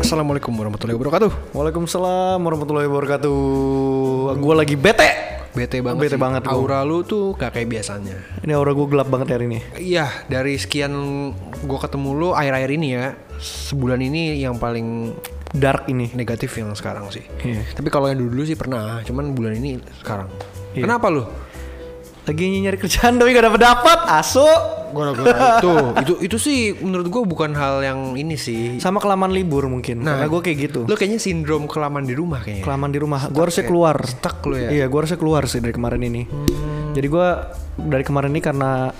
Assalamualaikum warahmatullahi wabarakatuh. Waalaikumsalam warahmatullahi wabarakatuh. Gue lagi bete. Bete banget. Bete sih. banget gua. Aura lu tuh gak kayak biasanya. Ini aura gue gelap banget hari ini. Iya, dari sekian gua ketemu lu akhir-akhir ini ya, sebulan ini yang paling Dark ini. negatif yang sekarang sih. Iya. Tapi kalau yang dulu sih pernah, cuman bulan ini sekarang. Iya. Kenapa lu? Lagi nyari kerjaan tapi gak dapet dapat. Asu. Gara-gara itu, itu itu sih menurut gua bukan hal yang ini sih. Sama kelamaan libur mungkin. Nah. Karena gue kayak gitu. Lu kayaknya sindrom kelamaan di rumah kayaknya. Kelamaan di rumah. Gue harusnya keluar. Stuck lu ya. Hmm. Iya, gue harusnya keluar sih dari kemarin ini. Jadi gue dari kemarin ini karena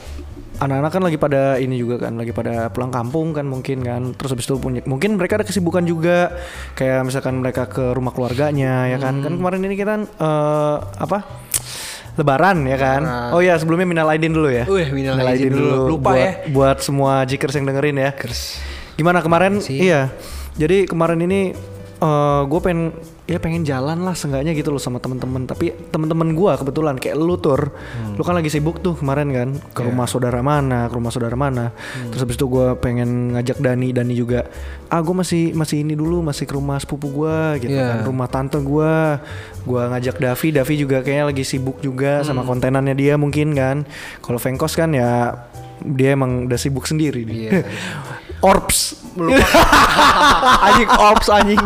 anak-anak kan lagi pada ini juga kan, lagi pada pulang kampung kan mungkin kan. Terus habis itu punya, mungkin mereka ada kesibukan juga, kayak misalkan mereka ke rumah keluarganya ya Hmm. kan. Kan kemarin ini kita eh, apa? Lebaran ya kan. Oh ya sebelumnya minal aidin dulu ya. Wih, minal aidin dulu. Lupa buat, ya. Buat semua jikers yang dengerin ya. Kers. Gimana kemarin? Iya. Jadi kemarin ini gue pengen ya pengen jalan lah seenggaknya gitu loh sama temen-temen. Tapi temen-temen gue kebetulan kayak lu tur, lu kan lagi sibuk tuh kemarin kan ke rumah saudara mana, ke rumah saudara mana. Terus habis itu gue pengen ngajak Dani, Dani juga. Ah gue masih masih ini dulu, masih ke rumah sepupu gue gitu Iya. kan, rumah tante gue. Gue ngajak Davi, Davi juga kayaknya lagi Hmm. sibuk juga sama kontenannya dia mungkin kan. Kalau Vengkos kan ya dia emang udah sibuk sendiri dia. Iya. Orbs anjing Orbs anjing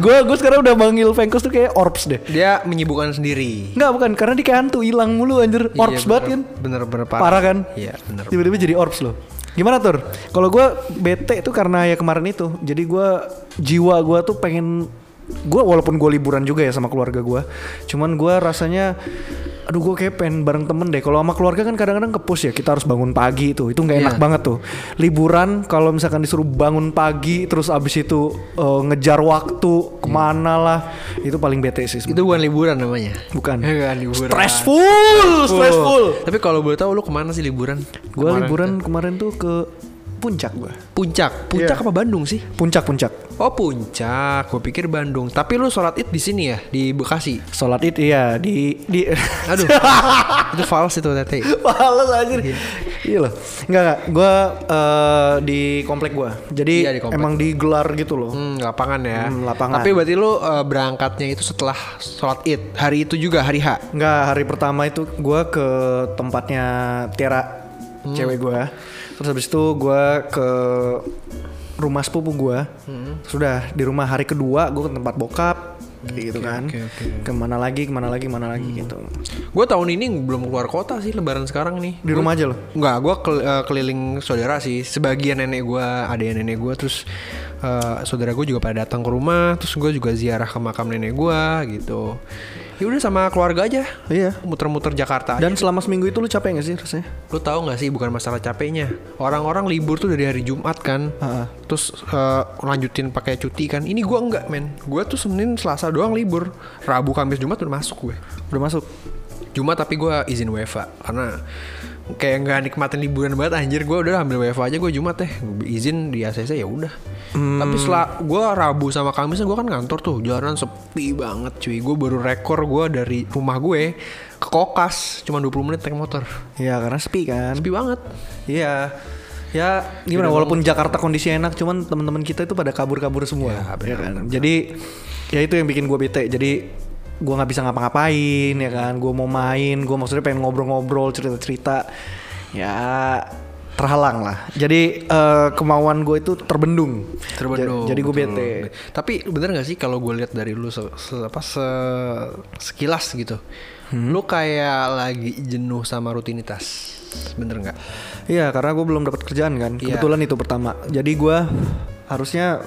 gue gue sekarang udah manggil Vengkus tuh kayak Orbs deh Dia menyibukkan sendiri. Enggak bukan karena dia kayak hantu hilang mulu anjir Orbs Iya, banget bener- kan Bener-bener parah. parah kan Iya, bener. tiba-tiba jadi Orbs loh gimana tur kalau gue bete tuh karena ya kemarin itu jadi gue jiwa gue tuh pengen gue walaupun gue liburan juga ya sama keluarga gue cuman gue rasanya aduh gue kayak pengen bareng temen deh kalau sama keluarga kan kadang-kadang kepus ya kita harus bangun pagi tuh itu nggak enak Iya. banget tuh liburan kalau misalkan disuruh bangun pagi terus abis itu eh, ngejar waktu Iya. kemana lah itu paling bete sih Itu sebenarnya. bukan liburan namanya. Bukan. Ya kan, liburan. stressful stressful Tapi kalau boleh tahu lu kemana sih liburan? Gue Kemarin. liburan kemarin tuh ke puncak gue. Puncak. Iya. Puncak apa Bandung sih? Puncak puncak. Oh puncak, gue pikir Bandung. Tapi lu sholat id di sini ya di Bekasi. Sholat id iya di di. Aduh, itu fals itu tete. Males anjir. Iya loh. Enggak enggak. Gue eh, di komplek gue. Jadi Iya, di komplek. emang digelar gitu loh. Hmm, lapangan ya. Hmm, lapangan. Tapi berarti lu eh, berangkatnya itu setelah sholat id hari itu juga hari H. Enggak hari pertama itu gue ke tempatnya Tiara cewek gue. Terus habis itu gue ke rumah sepupu gue. Sudah di rumah hari kedua gue ke tempat bokap. gitu kan oke, oke. kemana lagi kemana lagi kemana lagi gitu Gue tahun ini belum keluar kota sih Lebaran sekarang nih. di rumah aja loh Enggak, gue eh, keliling saudara sih. Sebagian nenek gue, ada yang nenek gue, terus eh, saudara gue juga pada datang ke rumah, terus gue juga ziarah ke makam nenek gue gitu. Ya udah sama keluarga aja, Iya. muter-muter Jakarta. Dan selama seminggu itu lu capek gak sih rasanya? Lu tahu nggak sih, bukan masalah capeknya. Orang-orang libur tuh dari hari Jumat kan, Ha-ha. terus eh, lanjutin pakai cuti kan. Ini gue enggak men, gue tuh Senin, Selasa doang libur. Rabu, Kamis, Jumat udah masuk gue. Udah masuk. Cuma tapi gue izin WFA karena kayak nggak nikmatin liburan banget anjir gue udah ambil WFA aja gue Jumat teh izin di ACC ya udah tapi setelah gue Rabu sama Kamis gue kan kantor tuh jalanan sepi banget cuy gue baru rekor gue dari rumah gue ke kokas cuma 20 menit naik motor Iya karena sepi kan. sepi banget Iya. Ya gimana walaupun Jakarta kondisinya enak cuman teman-teman kita itu pada kabur-kabur semua. Ya, benar, ya kan? Jadi ya itu yang bikin gue bete. Jadi gue nggak bisa ngapa-ngapain ya kan. Gue mau main, gue maksudnya pengen ngobrol-ngobrol, cerita-cerita. Ya terhalang lah. Jadi eh, kemauan gue itu terbendung. terbendung Ja- Jadi gue betul. bete. tapi bener nggak sih kalau gue lihat dari lu se, se- apa se- sekilas gitu lu kayak lagi jenuh sama rutinitas bener nggak Iya karena gue belum dapat kerjaan kan Iya. Kebetulan itu pertama Jadi gue harusnya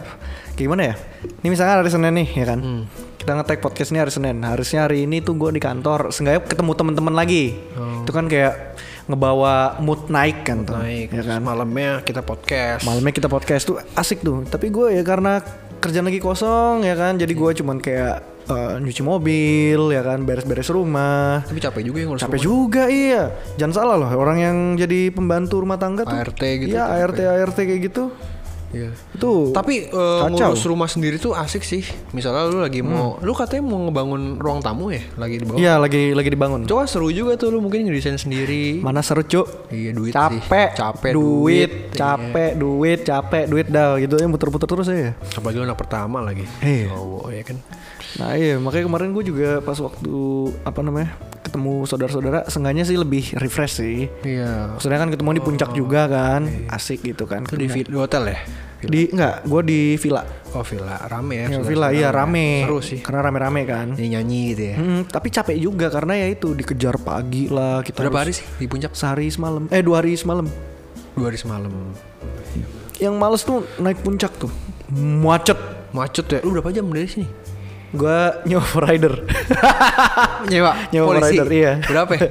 kayak gimana ya Ini misalkan hari Senin nih ya kan Hmm. Kita nge-tag podcast ini hari Senin Harusnya hari ini tuh gue di kantor Seenggaknya ketemu teman-teman lagi Oh. Itu kan kayak ngebawa mood naik kan tuh naik ya terus kan? malamnya kita podcast Malamnya kita podcast tuh asik tuh Tapi gue ya karena kerjaan lagi kosong ya kan Jadi Hmm. gue cuman kayak eh, nyuci mobil ya kan Beres-beres rumah tapi capek juga yang ngurus Capek juga iya. Jangan salah loh orang yang jadi pembantu rumah tangga tuh. ART gitu Iya, capek. ART ART kayak gitu. Iya. Itu Tapi eh, kacau. Hmm. ngurus rumah sendiri tuh asik sih. Misalnya lu lagi mau, lu katanya mau ngebangun ruang tamu ya, lagi di bawah. Iya lagi lagi dibangun. Coba seru juga tuh lu mungkin ngedesain sendiri. Mana seru cuk? Iya duit sih. Capek, capek duit, Iya. capek, duit, capek, duit dah gitu ya muter-muter terus ya. Apalagi lu anak pertama lagi. Iya. Cowok ya kan. Nah iya makanya kemarin gue juga pas waktu apa namanya ketemu saudara-saudara sengganya sih lebih refresh sih. Iya. Maksudnya kan ketemu di puncak juga kan, asik gitu kan. Oh, Itu di, vi- di hotel ya? Di enggak, gue di villa. Oh villa rame ya. Ya, saudara-saudara. villa iya rame. Seru sih. Karena rame-rame kan. Ini nyanyi gitu ya. Mm, tapi capek juga karena ya itu dikejar pagi lah kita. Berapa hari harus sih di puncak? Sehari semalam. Eh dua hari semalam. Dua hari semalam. Yang males tuh naik puncak tuh. Macet. Macet ya. Lu berapa jam dari sini? Gua nyewa rider. Nyewa. Nyewa polisi. rider, iya. Berapa ya?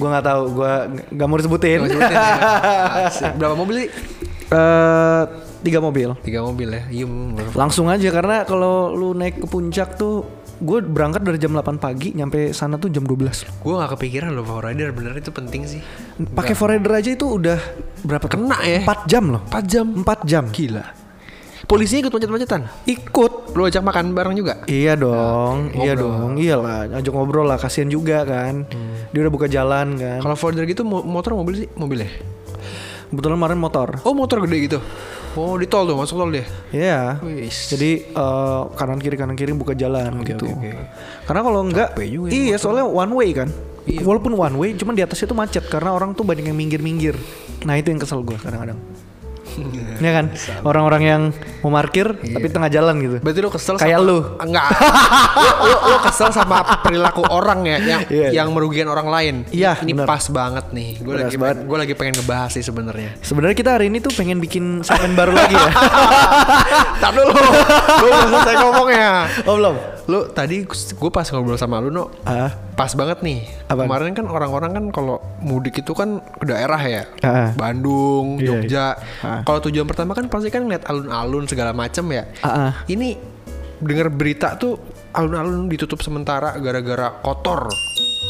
gua nggak tahu. Gua nggak mau disebutin. Nggak sebutin ya. Asik. berapa mobil sih? Eh, tiga mobil. Tiga mobil ya. Iya. berapa? Langsung aja karena kalau lu naik ke puncak tuh gue berangkat dari jam 8 pagi nyampe sana tuh jam 12 Gue gak kepikiran loh Power Rider bener itu penting sih. Pakai forerunner aja itu udah berapa tuh? Kena ya. 4 jam loh. 4 jam. 4 jam. Gila. Polisinya ikut macet-macetan. Ikut. Lu ajak makan bareng juga. Iya dong, ngobrol. Hmm. iya dong, iyalah, ajak ngobrol lah, kasihan juga kan. Dia udah buka jalan kan. Kalau Ford gitu mo- motor mobil sih mobilnya. Kebetulan kemarin motor. Oh motor gede gitu. Oh di tol tuh masuk tol dia. Iya. Wis. Jadi eh, kanan kiri kanan kiri buka jalan gitu. oke, oke. Karena kalau enggak, Capek juga ya iya soalnya one way kan. Iya. Walaupun one way, cuman di atasnya tuh macet karena orang tuh banyak yang minggir-minggir. Nah itu yang kesel gue kadang-kadang. Ya, Iya kan, orang-orang yang mau parkir tapi tengah jalan gitu. Berarti lu kesel Iya. Kayak sama- lu. Enggak. lu, lu, lu kesel sama perilaku orang ya yang Iya. yang merugikan orang lain. Iya, Ini bener. pas banget nih. Gue Pas lagi banget. gue lagi pengen ngebahas sih sebenarnya. Sebenarnya kita hari ini tuh pengen bikin segmen baru lagi ya. Tar dulu. Lu belum selesai ngomongnya. oh belum? Lu tadi gue pas ngobrol sama lu no Ah. pas banget nih. Apaan? Kemarin kan orang-orang kan kalau mudik itu kan ke daerah ya. Ah. Bandung, Iya, Jogja. Ah. Kalau tujuan pertama kan pasti kan ngeliat alun-alun segala macem ya. Ah, ah. Ini dengar berita tuh alun-alun ditutup sementara gara-gara kotor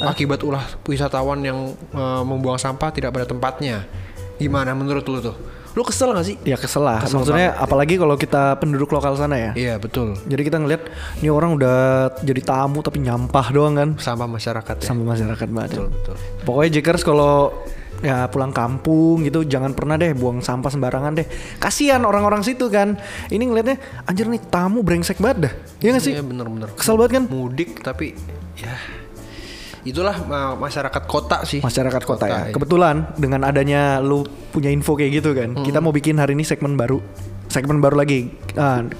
akibat ulah wisatawan yang eh, membuang sampah tidak pada tempatnya. Gimana menurut lu tuh? Lu kesel gak sih? Ya kesel lah. Kesel Maksudnya apalagi kalau kita penduduk lokal sana ya. Iya betul. Jadi kita ngelihat ini orang udah jadi tamu tapi nyampah doang kan Sama masyarakat ya. sama masyarakat banget. Betul betul. Pokoknya Jekers kalau ya pulang kampung gitu jangan pernah deh buang sampah sembarangan deh. Kasihan orang-orang situ kan. Ini ngelihatnya anjir nih tamu brengsek banget dah. Iya gak sih? Iya bener-bener. Kesel banget kan? mudik tapi ya itulah ma- masyarakat kota sih Masyarakat kota, ya. iya. Kebetulan dengan adanya lu punya info kayak gitu kan, kita mau bikin hari ini segmen baru, segmen baru lagi.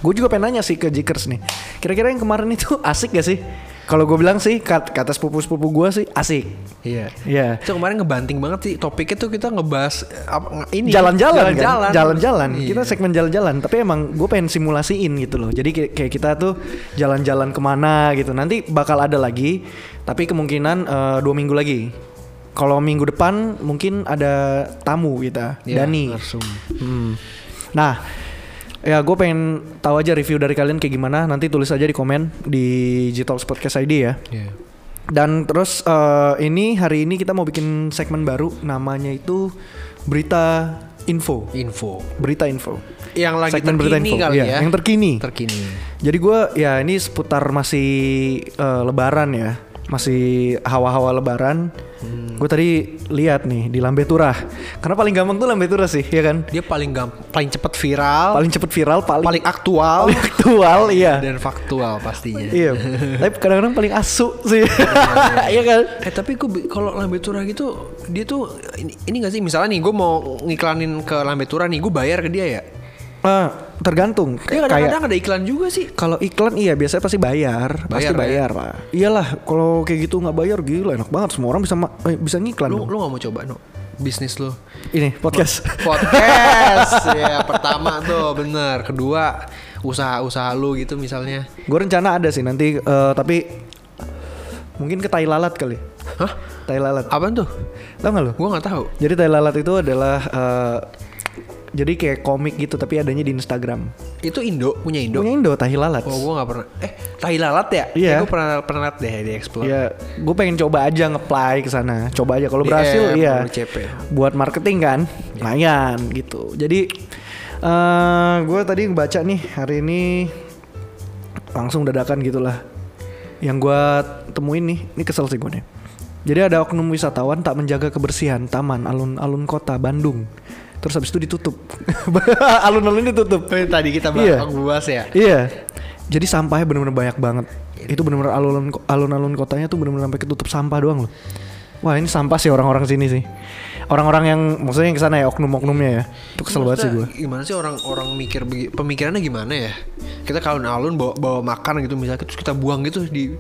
gue juga pengen nanya sih ke Jikers nih, kira-kira yang kemarin itu asik gak sih? Kalau gue bilang sih, kat- kata sepupu-sepupu gue sih asik. iya Iya. itu kemarin ngebanting banget sih topiknya tuh kita ngebahas eh, apa, nge- ini Jalan-jalan kan, jalan-jalan jalan-jalan. Iya. Kita segmen jalan-jalan, tapi emang gue pengen simulasiin gitu loh. Jadi kayak kayak kita tuh jalan-jalan kemana gitu. Nanti bakal ada lagi, tapi kemungkinan eh, dua minggu lagi. Kalau minggu depan mungkin ada tamu kita, Iya, Dani. langsung. Hmm. Nah, ya gue pengen tahu aja review dari kalian kayak gimana. Nanti tulis aja di komen di Gtalks Podcast ID ya. Iya. Dan terus eh, ini hari ini kita mau bikin segmen baru, namanya itu berita info. info Berita info. yang lagi terkini kali iya, ya yang terkini. terkini Jadi gue ya ini seputar masih eh, Lebaran ya, masih hawa-hawa Lebaran. Hmm. Gue tadi lihat nih di Lambe Turah. Karena paling gampang tuh Lambe Turah sih, ya kan? dia paling gampang paling cepat viral paling, Paling cepet viral, paling aktual paling aktual iya dan faktual pastinya iya tapi kadang-kadang paling asu sih iya kan Eh tapi gue bi- kalau lambe turah gitu dia tuh ini, ini gak sih misalnya nih gue mau ngiklanin ke lambe turah nih gue bayar ke dia ya Ah, tergantung Dia Iya, kayak kadang-kadang ada iklan juga sih. kalau iklan iya biasanya pasti bayar, Bayar, ya? pasti bayar lah iyalah kalau kayak gitu nggak bayar gila enak banget semua orang bisa ma- eh, bisa ngiklan Lu dong. lu gak mau coba no bisnis lu. ini podcast Podcast ya pertama tuh bener. Kedua usaha-usaha lu gitu misalnya. gue rencana ada sih nanti eh, tapi mungkin ke tai lalat kali Hah? tai lalat Apaan tuh? tau nggak lu Gua nggak tahu. jadi tai lalat itu adalah eh, jadi kayak komik gitu tapi adanya di Instagram Itu Indo punya Indo. punya Indo tai lalat Oh gua nggak pernah. Eh tai lalat ya? Iya. Gue pernah pernah liat deh di explore. Ya, gue pengen coba aja ngeplay ke sana. Coba aja kalau DM, berhasil iya. WCP. Buat marketing kan, lumayan gitu. Jadi Eh, gue tadi baca nih hari ini langsung dadakan gitulah. Yang gue temuin nih, ini kesel sih gue nih. Jadi ada oknum wisatawan tak menjaga kebersihan taman alun-alun kota Bandung. Terus habis itu ditutup. Alun-alun ditutup. Tadi kita Iya. bahas bahas ya. Iya. Jadi sampahnya bener-bener banyak banget. Iya. Itu bener-bener alun- alun-alun kotanya tuh bener-bener sampai ketutup sampah doang loh. Wah ini sampah sih orang-orang sini sih. Orang-orang yang maksudnya yang kesana ya oknum-oknumnya ya. Itu kesel banget sih gue. Maksudnya, Gimana sih orang-orang mikir begi- pemikirannya gimana ya? Kita kalun alun bawa, bawa makan gitu misalnya terus kita buang gitu di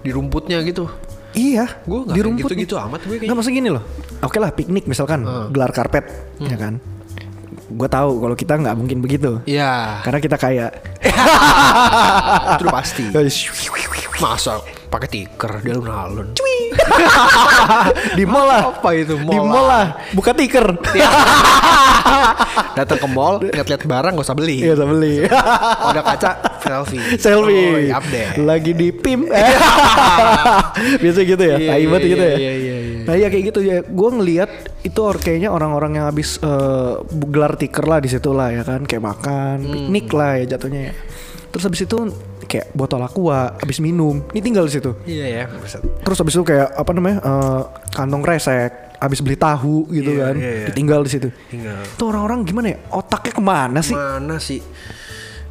di rumputnya gitu. Iya, Gua nggak di kayak rumput gitu. gitu-gitu amat gue kayaknya. Ah. Nggak maksudnya gini loh. Oke lah piknik misalkan gelar karpet, ya Hmm. kan. Gue tahu kalau kita nggak mungkin begitu. Ya, Karena kita kayak itu udah pasti. Masa pakai tiker di alun-alun. di mall lah. Apa itu Di Ah, mall Iya. mall lah. Buka tiker. Datang ke mall, lihat-liat barang gak usah beli. Iya, tak beli. Kalau Ada kaca, selfie. Selfie. Oh, update. Lagi di PIM. Biasa gitu ya. Iya, Tai banget iya, gitu ya. iya, iya, iya. Nah, iya kayak gitu ya. Gue ngelihat itu or kayaknya orang-orang yang habis eh, gelar tiker lah di situ lah ya kan, kayak makan, Hmm. piknik lah ya jatuhnya ya. Terus habis itu kayak botol aqua, habis minum, ini tinggal di situ. Iya ya, buset. Terus habis itu kayak apa namanya? eh, kantong kresek, habis beli tahu gitu Iya, kan, iya, iya. ditinggal di situ. Tinggal. Itu orang-orang gimana ya? Otaknya kemana sih? Mana sih?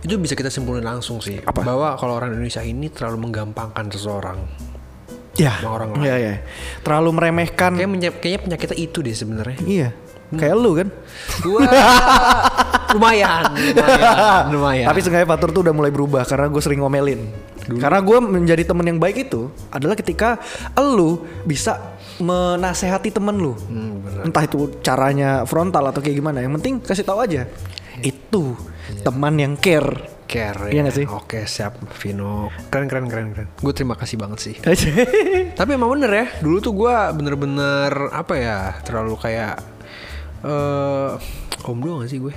Itu bisa kita simpulin langsung sih. Apa? Bahwa kalau orang Indonesia ini terlalu menggampangkan seseorang. Ya, Sama orang lain. ya, ya. Terlalu meremehkan. Kayak menye- kayaknya penyakitnya itu deh sebenarnya. Iya. Kayak lu kan. Gua lumayan, lumayan, Ah, lumayan. Tapi seenggaknya Fatur tuh udah mulai berubah karena gue sering ngomelin. Karena gue menjadi temen yang baik itu adalah ketika lu bisa menasehati temen lu. Hmm, Entah itu caranya frontal atau kayak gimana. Yang penting kasih tahu aja. Iya. Itu teman yang care. care. Iya nggak sih? Oke, siap Vino. Keren keren keren keren. Gue terima kasih banget sih. Eh, Tapi emang bener ya, dulu tuh gua bener-bener apa ya, terlalu kayak eh omdo gak sih gue?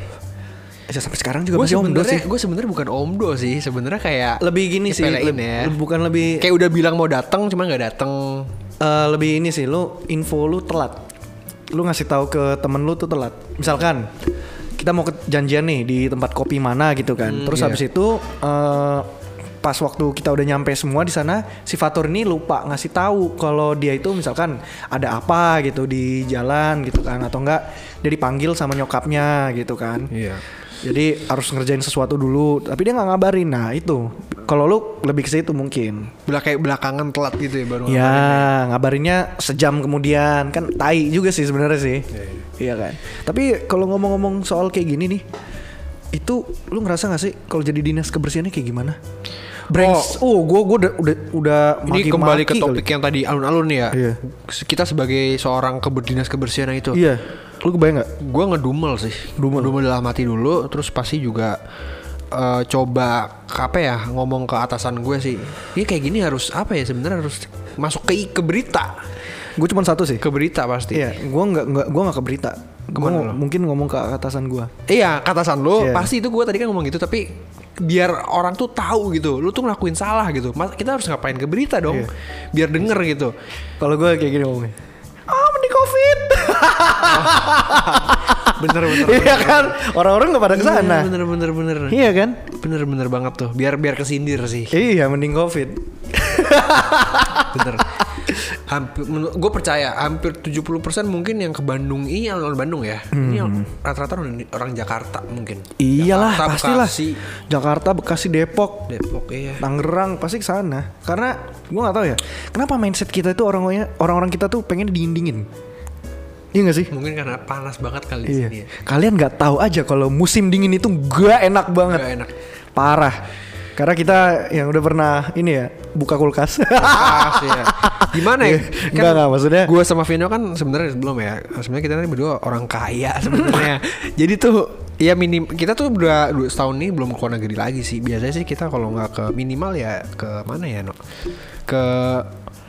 Ya, sampai sekarang juga Gue masih omdo sebenarnya sih. gue sebenarnya bukan omdo sih, sebenarnya kayak Lebih gini sih, nyepelein leb- ya. bukan lebih kayak udah bilang mau datang cuman nggak datang. Eh, lebih ini sih lu info lu telat lu ngasih tahu ke temen lu tuh telat misalkan kita mau ke janjian nih di tempat kopi mana gitu kan terus iya. habis itu eh, pas waktu kita udah nyampe semua di sana si Fatur ini lupa ngasih tahu kalau dia itu misalkan ada apa gitu di jalan gitu kan atau enggak dia dipanggil sama nyokapnya gitu kan Iya. jadi harus ngerjain sesuatu dulu tapi dia nggak ngabarin nah itu kalau lu lebih ke situ mungkin Belak kayak belakangan telat gitu ya baru. Ya, ngabarinnya sejam kemudian kan tai juga sih sebenarnya sih. Iya, kan. Tapi kalau ngomong-ngomong soal kayak gini nih, itu lu ngerasa gak sih kalau jadi dinas kebersihannya kayak gimana? Brengs. Oh, gua gua udah udah, udah Ini maki-maki kembali ke kali. topik yang tadi alun-alun ya. Iya. Kita sebagai seorang keberdinas kebersihan itu. Iya. Lu kebayang gak? gue ngedumel sih dumel dumel dalam hati dulu terus pasti juga eh, coba apa ya ngomong ke atasan gue sih ini kayak gini harus apa ya sebenarnya harus masuk ke ke berita Gue cuma satu sih. ke berita pasti Iya, gua nggak nggak gua nggak ke berita. Gua Kemana ngo- mungkin ngomong ke atasan gua. iya ke atasan lo Iya. pasti itu gue tadi kan ngomong gitu tapi biar orang tuh tahu gitu lu tuh ngelakuin salah gitu Mas, kita harus ngapain ke berita Iya. dong biar denger gitu Kalau gua kayak gini ngomongnya. Ah, mending Covid. bener bener Iya kan? Orang-orang nggak pada ke sana. bener bener bener Iya kan? bener bener banget tuh biar biar kesindir sih Iya, mending Covid. bener hampir gue percaya hampir 70% mungkin yang ke Bandung ini alun-alun Bandung ya ini Hmm. rata-rata orang, orang Jakarta mungkin Iyalah Jakarta, pastilah. Bekasi, Jakarta, Bekasi, Depok, Depok iya Tangerang pasti ke sana. Karena gua nggak tahu ya, kenapa mindset kita itu orang orang-orang kita tuh pengen dingin Iya gak sih? mungkin karena panas banget kali di Iya. sini ya. Kalian nggak tahu aja kalau musim dingin itu gak enak banget. Nggak enak. Parah. Karena kita yang udah pernah ini ya buka kulkas. Panas, iya. gimana ya Iya. Nggak, nggak, maksudnya- gue sama Vino kan sebenarnya belum ya sebenarnya kita ini berdua orang kaya sebenarnya jadi tuh ya minim kita tuh udah dua setahun nih belum keluar negeri lagi sih biasanya sih kita kalau nggak ke minimal ya ke mana ya no ke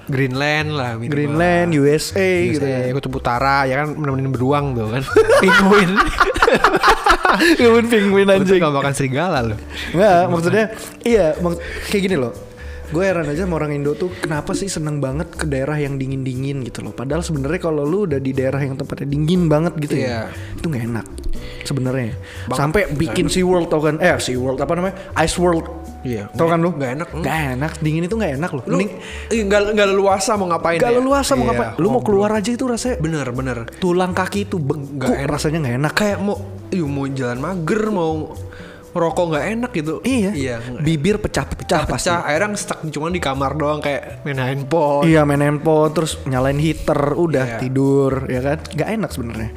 Greenland lah minimal. Greenland, USA, gitu gitu ya. ya. Kutub Utara ya kan menemenin beruang tuh kan. Penguin. Kebun penguin Anjing anjing. gak makan serigala loh. Nggak, maksudnya iya, mak- kayak gini loh. Gue heran aja sama orang Indo tuh kenapa sih seneng banget ke daerah yang dingin-dingin gitu loh. Padahal sebenarnya kalau lu udah di daerah yang tempatnya dingin banget gitu Iya. ya, itu nggak enak. sebenarnya. Sampai bikin Sea World tau kan? Eh Sea World apa namanya? Ice World. Iya. Tau kan lu? Nggak enak, hmm. Nggak enak. Dingin itu nggak enak loh. Lu Mending ih, nggak nggak leluasa mau ngapain? nggak ya? leluasa mau Iya, ngapain? Lu mau keluar aja itu rasanya Bener bener. tulang kaki itu beku Nggak enak. rasanya nggak enak. kayak mau iya mau jalan mager mau ngerokok nggak enak gitu Iya. iya Bibir pecah-pecah pasti. pecah akhirnya stuck cuma di kamar doang kayak main handphone Iya main handphone terus nyalain heater Iya. udah Hmm. tidur ya kan nggak enak sebenarnya.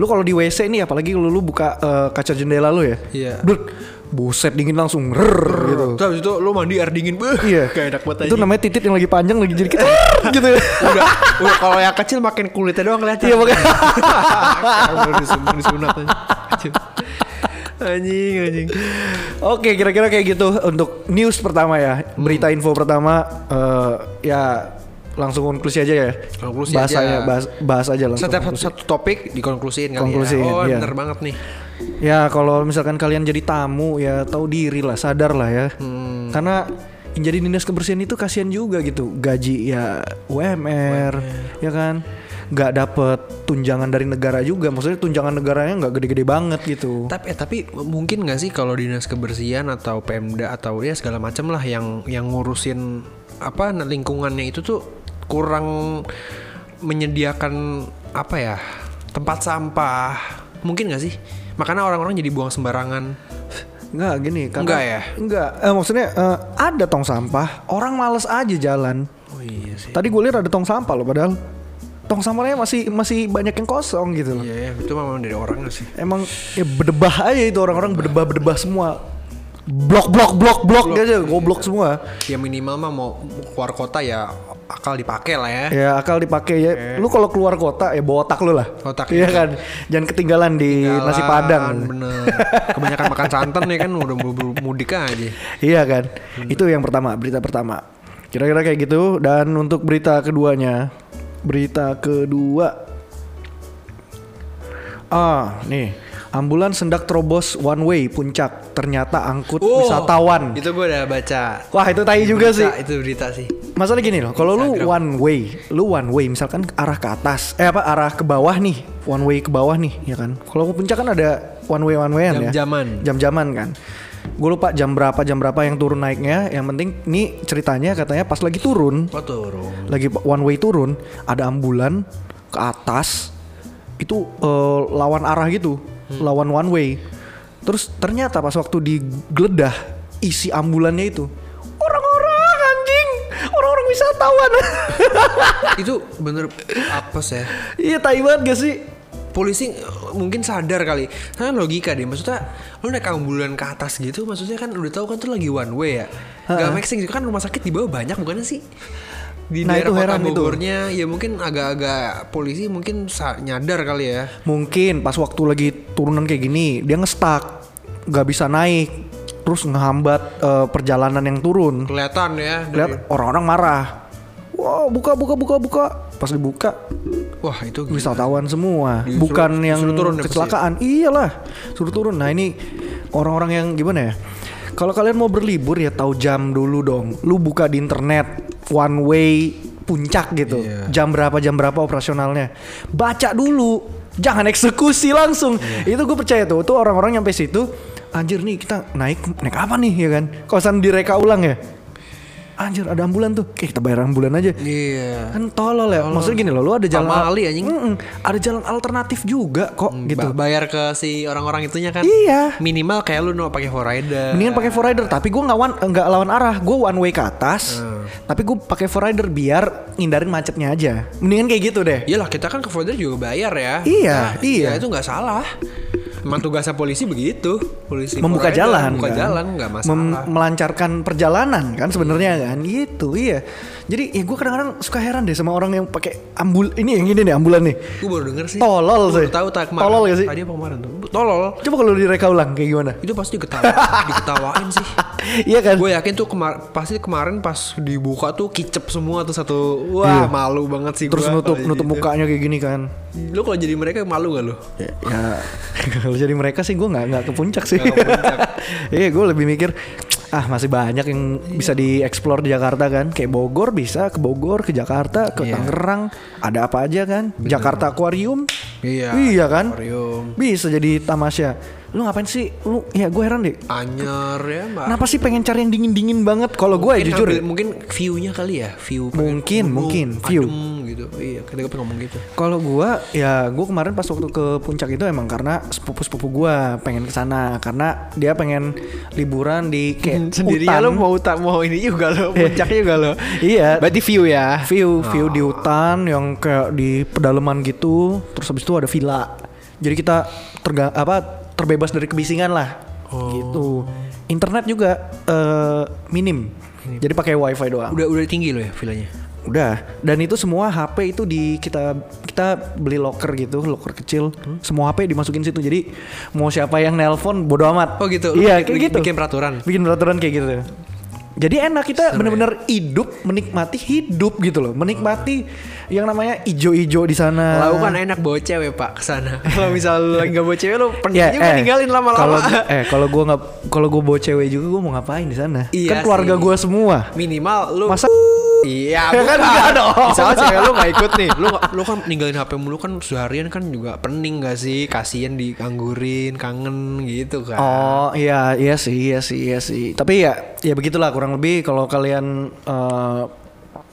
Lu kalau di WC nih apalagi lu, lu buka eh, kaca jendela lu ya. Iya. Brut, buset dingin langsung rrrr, gitu. terus habis itu lu mandi air dingin beuh, Iya. nggak enak banget Itu anjing. namanya titit yang lagi panjang lagi jadi kita gitu. udah, udah kalau yang kecil makin kulitnya doang kelihatan Iya makanya Kayak baru disunat, disunat aja. Anjing. anjing anjing Oke, kira-kira kayak gitu untuk news pertama ya, Hmm. berita info pertama eh, ya langsung konklusi aja ya. Konklusi Bahasanya aja. bahas, bahas aja langsung. setiap satu, satu topik dikonklusiin kali Konklusiin, ya oh iya. bener banget nih Ya kalau misalkan kalian jadi tamu ya tahu diri lah, sadar lah ya. Hmm. Karena yang jadi dinas kebersihan itu kasihan juga gitu. Gaji ya UMR, ya kan? Gak dapet tunjangan dari negara juga. Maksudnya tunjangan negaranya nggak gede-gede banget gitu. tapi eh, tapi mungkin nggak sih kalau dinas kebersihan atau pemda atau ya segala macam lah yang yang ngurusin apa nah, lingkungannya itu tuh kurang menyediakan apa ya tempat sampah mungkin nggak sih makanya orang-orang jadi buang sembarangan Nggak gini. karena- Nggak ya? Nggak. Eh, maksudnya eh, ada tong sampah. Orang males aja jalan. oh iya sih Tadi gue lihat ada tong sampah loh padahal. Tong sampahnya masih masih banyak yang kosong gitu loh. iya ya, itu memang dari orangnya sih Emang ya berdebah aja itu orang-orang berdebah berdebah semua. Blok blok blok blok aja goblok semua. ya minimal mah mau keluar kota ya akal dipakai lah ya Ya akal dipakai ya. Lu kalau keluar kota ya bawa otak lu lah. Otak. Iya kan. Jangan ketinggalan di nasi Jalan, padang. bener kebanyakan makan santan ya kan udah buru-buru mudik aja Iya kan. Itu yang pertama berita pertama. Kira-kira kayak gitu dan untuk berita keduanya. Berita kedua. Ah, nih. Ambulans sendak terobos one way puncak. Ternyata angkut Oh, wisatawan. itu gue udah baca Wah, itu tai juga sih. Berita, Iya. itu berita sih. Masalah gini loh, kalau lu Instagram. one way, lu one way misalkan ke arah ke atas, eh apa arah ke bawah nih, one way ke bawah nih, ya kan. Kalau ke puncak kan ada one way one wayan ya. Jam-jaman. Jam-jaman kan. Gue lupa jam berapa jam berapa yang turun naiknya. Yang penting nih ceritanya katanya pas lagi turun, Oh turun. lagi one way turun, ada ambulan ke atas itu eh, lawan arah gitu, lawan one way. Terus ternyata pas waktu digeledah isi ambulannya itu orang-orang anjing, orang-orang wisatawan. itu bener apa sih? Iya tai banget gak sih? Polisi eh, mungkin sadar kali. Karena logika deh. Maksudnya lu naik ambulan ke atas gitu. Maksudnya kan udah tahu kan tuh lagi one way ya. Gak make sense. Kan rumah sakit di bawah banyak bukannya sih? Di Nah, itu daerah kota heran itu. Bogornya ya mungkin agak-agak polisi mungkin sa- nyadar kali ya. Mungkin pas waktu lagi turunan kayak gini dia ngestak, nggak bisa naik, terus ngehambat eh, perjalanan yang turun. Kelihatan ya. dari- Lihat orang-orang marah. Wow, buka buka buka buka. Pas dibuka Wah itu gila. wisatawan semua, Disuruh- bukan disuruh yang turun ya pasti. kecelakaan. Iyalah, suruh turun. Nah, ini orang-orang yang gimana ya? Kalau kalian mau berlibur ya tahu jam dulu dong. Lu buka di internet one way puncak gitu. Iya. Jam berapa jam berapa operasionalnya. Baca dulu. Jangan eksekusi langsung. Iya. Itu gue percaya tuh. Tuh orang-orang nyampe situ anjir nih kita naik naik apa nih ya kan? Kosan direka ulang ya. Anjir ada ambulan tuh. Oke, kita bayar ambulan aja. Iya. Kan tolol ya. Maksudnya gini loh, lu ada jalan Sama Ali, anjing. Mm, Mm-mm. ada jalan alternatif juga kok Ba- gitu. bayar ke si orang-orang itunya kan. Iya. Minimal kayak lu no pakai Forerunner. Mendingan pakai rider tapi gue nggak one nggak lawan arah, gue one way ke atas. Mm. Tapi gue pakai rider biar ngindarin macetnya aja. Mendingan kayak gitu deh. Iyalah kita kan ke folder juga bayar ya. Iya, Nah, iya. ya, itu nggak salah. Emang tugasnya polisi begitu. Polisi Membuka foreigner jalan, Membuka kan? jalan nggak Mem- masalah. melancarkan perjalanan kan sebenarnya kan, gitu iya. Jadi ya gue kadang-kadang suka heran deh sama orang yang pakai ambul ini yang ini nih ambulan nih. Gue baru denger sih. Tolol Gua baru sih. Tahu tak kemarin. Tolol nggak sih? Tadi apa kemarin tuh? Tolol. Coba kalau direka ulang kayak gimana? Itu pasti diketawa, diketawain sih. iya kan? Gue yakin tuh kemar pasti kemarin pas dibuka tuh kicep semua tuh satu. Wah Iya. malu banget sih. Terus gua nutup kalau nutup jadi- mukanya kayak gini kan. Lu kalau jadi mereka malu gak lu? ya kalau jadi mereka sih gue nggak nggak ke puncak sih Nggak ke puncak. iya gue lebih mikir ah masih banyak yang bisa dieksplor di Jakarta kan kayak Bogor bisa ke Bogor ke Jakarta ke Iya. Tangerang ada apa aja kan Jakarta Aquarium Iya. iya kan? Aquarium. Bisa jadi tamasya. Lu ngapain sih? Lu ya gue heran deh. Anyar ya, Mbak. Kenapa sih pengen cari yang dingin-dingin banget? Kalau gue ya Mungkin Nah, jujur, ambil- mungkin view-nya kali ya, view pengen Mungkin, gunung, mungkin, view. adem gitu. Iya, ketika gue pengen ngomong gitu. Kalau gua ya gua kemarin pas waktu ke puncak itu emang karena sepupu-sepupu gua pengen ke sana karena dia pengen liburan di kayak Sendirinya hutan. Hmm, Eh. lo mau tak mau ini juga lo, Ya, puncak juga lo. Iya. Berarti view ya. View view di hutan yang kayak di pedalaman gitu. Terus habis itu ada villa. Jadi kita terga, apa terbebas dari kebisingan lah. Oh. Gitu. Internet juga eh, minim. Jadi pakai wifi doang. Udah udah tinggi lo ya villanya. Udah. Dan itu semua HP itu di kita kita beli locker gitu, locker kecil. Hmm? Semua HP dimasukin situ. Jadi mau siapa yang nelpon bodo amat. Oh gitu. Lu Iya, bikin- kayak gitu. bikin peraturan? Bikin peraturan kayak gitu. Jadi enak kita ya. bener-bener hidup menikmati hidup gitu loh, menikmati yang namanya ijo-ijo di sana. Lau kan enak bawa cewek pak ke sana. Kalau misal lu lagi gak bawa cewek lu pergi Ya, juga ninggalin Kalau lama-lama. eh kalau gua nggak kalau gua bawa cewek juga gua mau ngapain di sana? Iya kan keluarga sih. gua semua. Minimal lu Masa Iya, Ya bukan. kan, enggak dong. Misalnya cewek lu gak ikut nih, lu lu kan ninggalin HP mulu kan seharian kan juga pening gak sih? Kasian diganggurin, kangen gitu kan. Oh iya iya sih iya sih iya sih. Tapi ya ya begitulah kurang lebih kalau kalian eh,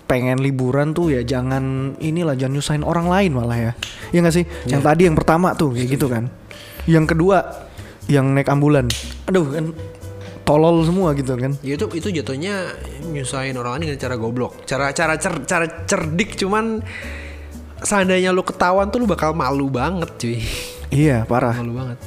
pengen liburan tuh ya jangan inilah jangan nyusahin orang lain malah ya. Iya nggak sih? Yang tadi yang pertama tuh kayak gitu kan. Yang kedua yang naik ambulan. Aduh kan tolol semua gitu kan. Ya itu itu jatuhnya nyusahin orang lain dengan cara goblok. Cara cara cer, cara cerdik cuman seandainya lu ketahuan tuh lu bakal malu banget cuy. Iya parah. Malu banget.